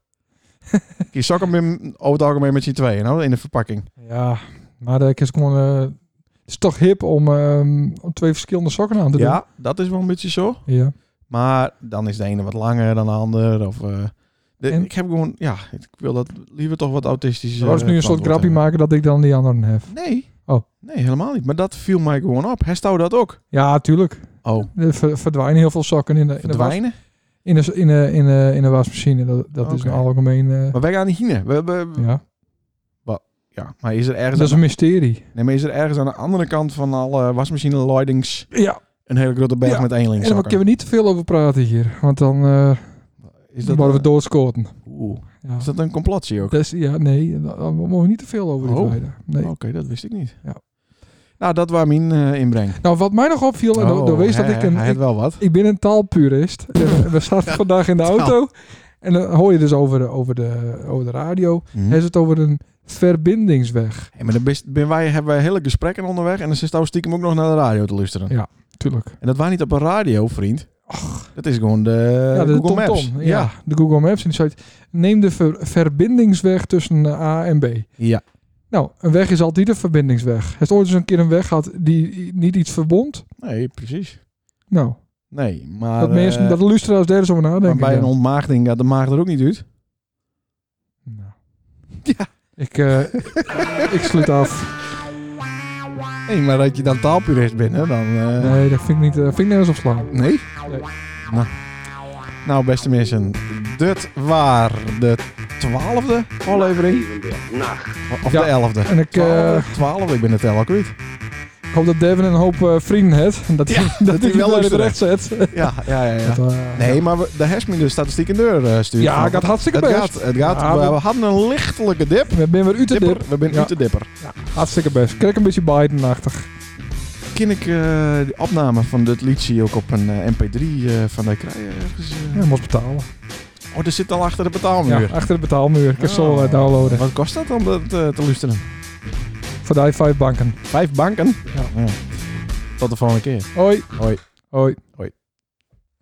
S2: Die zakken ben over het algemeen met z'n tweeën nou, in de verpakking.
S1: Ja. Maar eh, ik is gewoon... eh, het is toch hip om, ehm, om twee verschillende sokken aan te doen.
S2: Ja, dat is wel een beetje zo.
S1: Ja.
S2: Maar dan is de ene wat langer dan de ander. Of, eh, de-
S1: En-
S2: Ik heb gewoon, ja, ik wil dat liever toch wat autistisch.
S1: Zou ze nu een soort grappie maken dat ik dan die anderen heb?
S2: Nee.
S1: Oh.
S2: Nee, helemaal niet. Maar dat viel mij gewoon op. Herstel dat ook.
S1: Ja, tuurlijk.
S2: Oh,
S1: Er ver- verdwijnen heel veel sokken in de, in de, was,
S2: verdwijnen.
S1: in de, in de, in de, in de wasmachine. Dat, dat is
S2: Oké.
S1: een algemeen... eh,
S2: Maar wij gaan niet heen. We, we, ja.
S1: ja.
S2: maar is er ergens
S1: Dat is een mysterie.
S2: Nee, maar is er ergens aan de andere kant van alle wasmachine leidings
S1: Ja.
S2: een hele grote berg
S1: Ja,
S2: met één
S1: En daar kunnen
S2: linkzakken?
S1: we niet te veel over praten hier. Want dan eh,
S2: Is dat,
S1: worden we
S2: eh,
S1: doodskoten.
S2: oeh,
S1: Ja.
S2: is dat een complotje ook?
S1: Dat is- ja, nee, daar daar mogen we niet te veel over
S2: Oh.
S1: uitweiden. Nee.
S2: Oké, dat wist ik niet.
S1: Ja.
S2: Nou, dat waar mijn eh, inbreng.
S1: Nou, wat mij nog opviel, en dan- dan wees dat
S2: hè,
S1: ik een...
S2: Oh, Hij had
S1: Ik,
S2: wel wat.
S1: ik ben een taalpurist. En eh, we zaten vandaag in de
S2: taal.
S1: auto. En dan hoor je dus over de, over de, over de radio.
S2: Hm.
S1: Hij is het over een verbindingsweg.
S2: Hey, maar dan best- ben wij, hebben wij hele gesprekken onderweg en dan zit nou stiekem ook nog naar de radio te luisteren.
S1: Ja. Tuurlijk.
S2: En dat waren niet op een radio, vriend. Dat is gewoon de,
S1: ja, de
S2: Eh, Google
S1: TomTom.
S2: Maps.
S1: Ja, de Google Maps. En die site, neem de ver- verbindingsweg tussen eh, A en B.
S2: ja.
S1: Nou, een weg is altijd een verbindingsweg. Heeft ooit eens een keer een weg gehad die niet iets verbond?
S2: Nee, precies.
S1: Nou,
S2: Nee, maar,
S1: dat, mensen,
S2: eh,
S1: dat de luisteraars daar eens over
S2: maar
S1: nadenken.
S2: bij
S1: ja.
S2: een ontmaagding gaat de maag er ook niet uit.
S1: Nou.
S2: Ja.
S1: Ik, eh, ik sluit af.
S2: Nee, maar dat je dan taalpurist bent, hè, dan... eh,
S1: Nee, dat vind ik niet. eh, vind ik nergens op slaan.
S2: Nee?
S1: Nee.
S2: Nou. nou, beste mensen, dit waar de twaalfde aflevering.
S3: Nacht.
S2: Of
S1: Ja.
S2: de elfde.
S1: En ik eh,
S2: Twaalfde, ik ben het tel al kwijt.
S1: ik hoop dat Devin een hoop eh, vrienden heeft. En dat hij dat
S2: hij
S1: hij
S2: wel
S1: wel weer
S2: luistert.
S1: terecht zet.
S2: Ja, ja, ja. ja.
S1: Dat, eh,
S2: Nee, maar we, de hersen de statistiek in deur eh stuurt.
S1: ja,
S2: Want
S1: ik had hartstikke
S2: het
S1: best.
S2: gaat, het gaat.
S1: Ja,
S2: we,
S1: we-
S2: we hadden een lichtelijke dip.
S1: We zijn weer Utrecht.
S2: Dipper. We zijn
S1: Ja.
S2: nu te dipper.
S1: Hartstikke best. Krijg een beetje Biden-achtig.
S2: Kan ik eh die opname van dit liedje ook op een eh, mp3 eh, van de krijgen? ergens, eh?
S1: Ja, moest betalen.
S2: Oh, er zit al achter de
S1: Ja,
S2: betaalmuur.
S1: achter de betaalmuur. Ik kan zo eh,
S2: Oh.
S1: downloaden.
S2: Wat kost dat om dat eh, te luisteren?
S1: Voor de i5 banken.
S2: Vijf banken?
S1: Ja.
S2: Tot de volgende keer.
S1: Hoi.
S2: Hoi.
S1: Hoi.
S2: Hoi.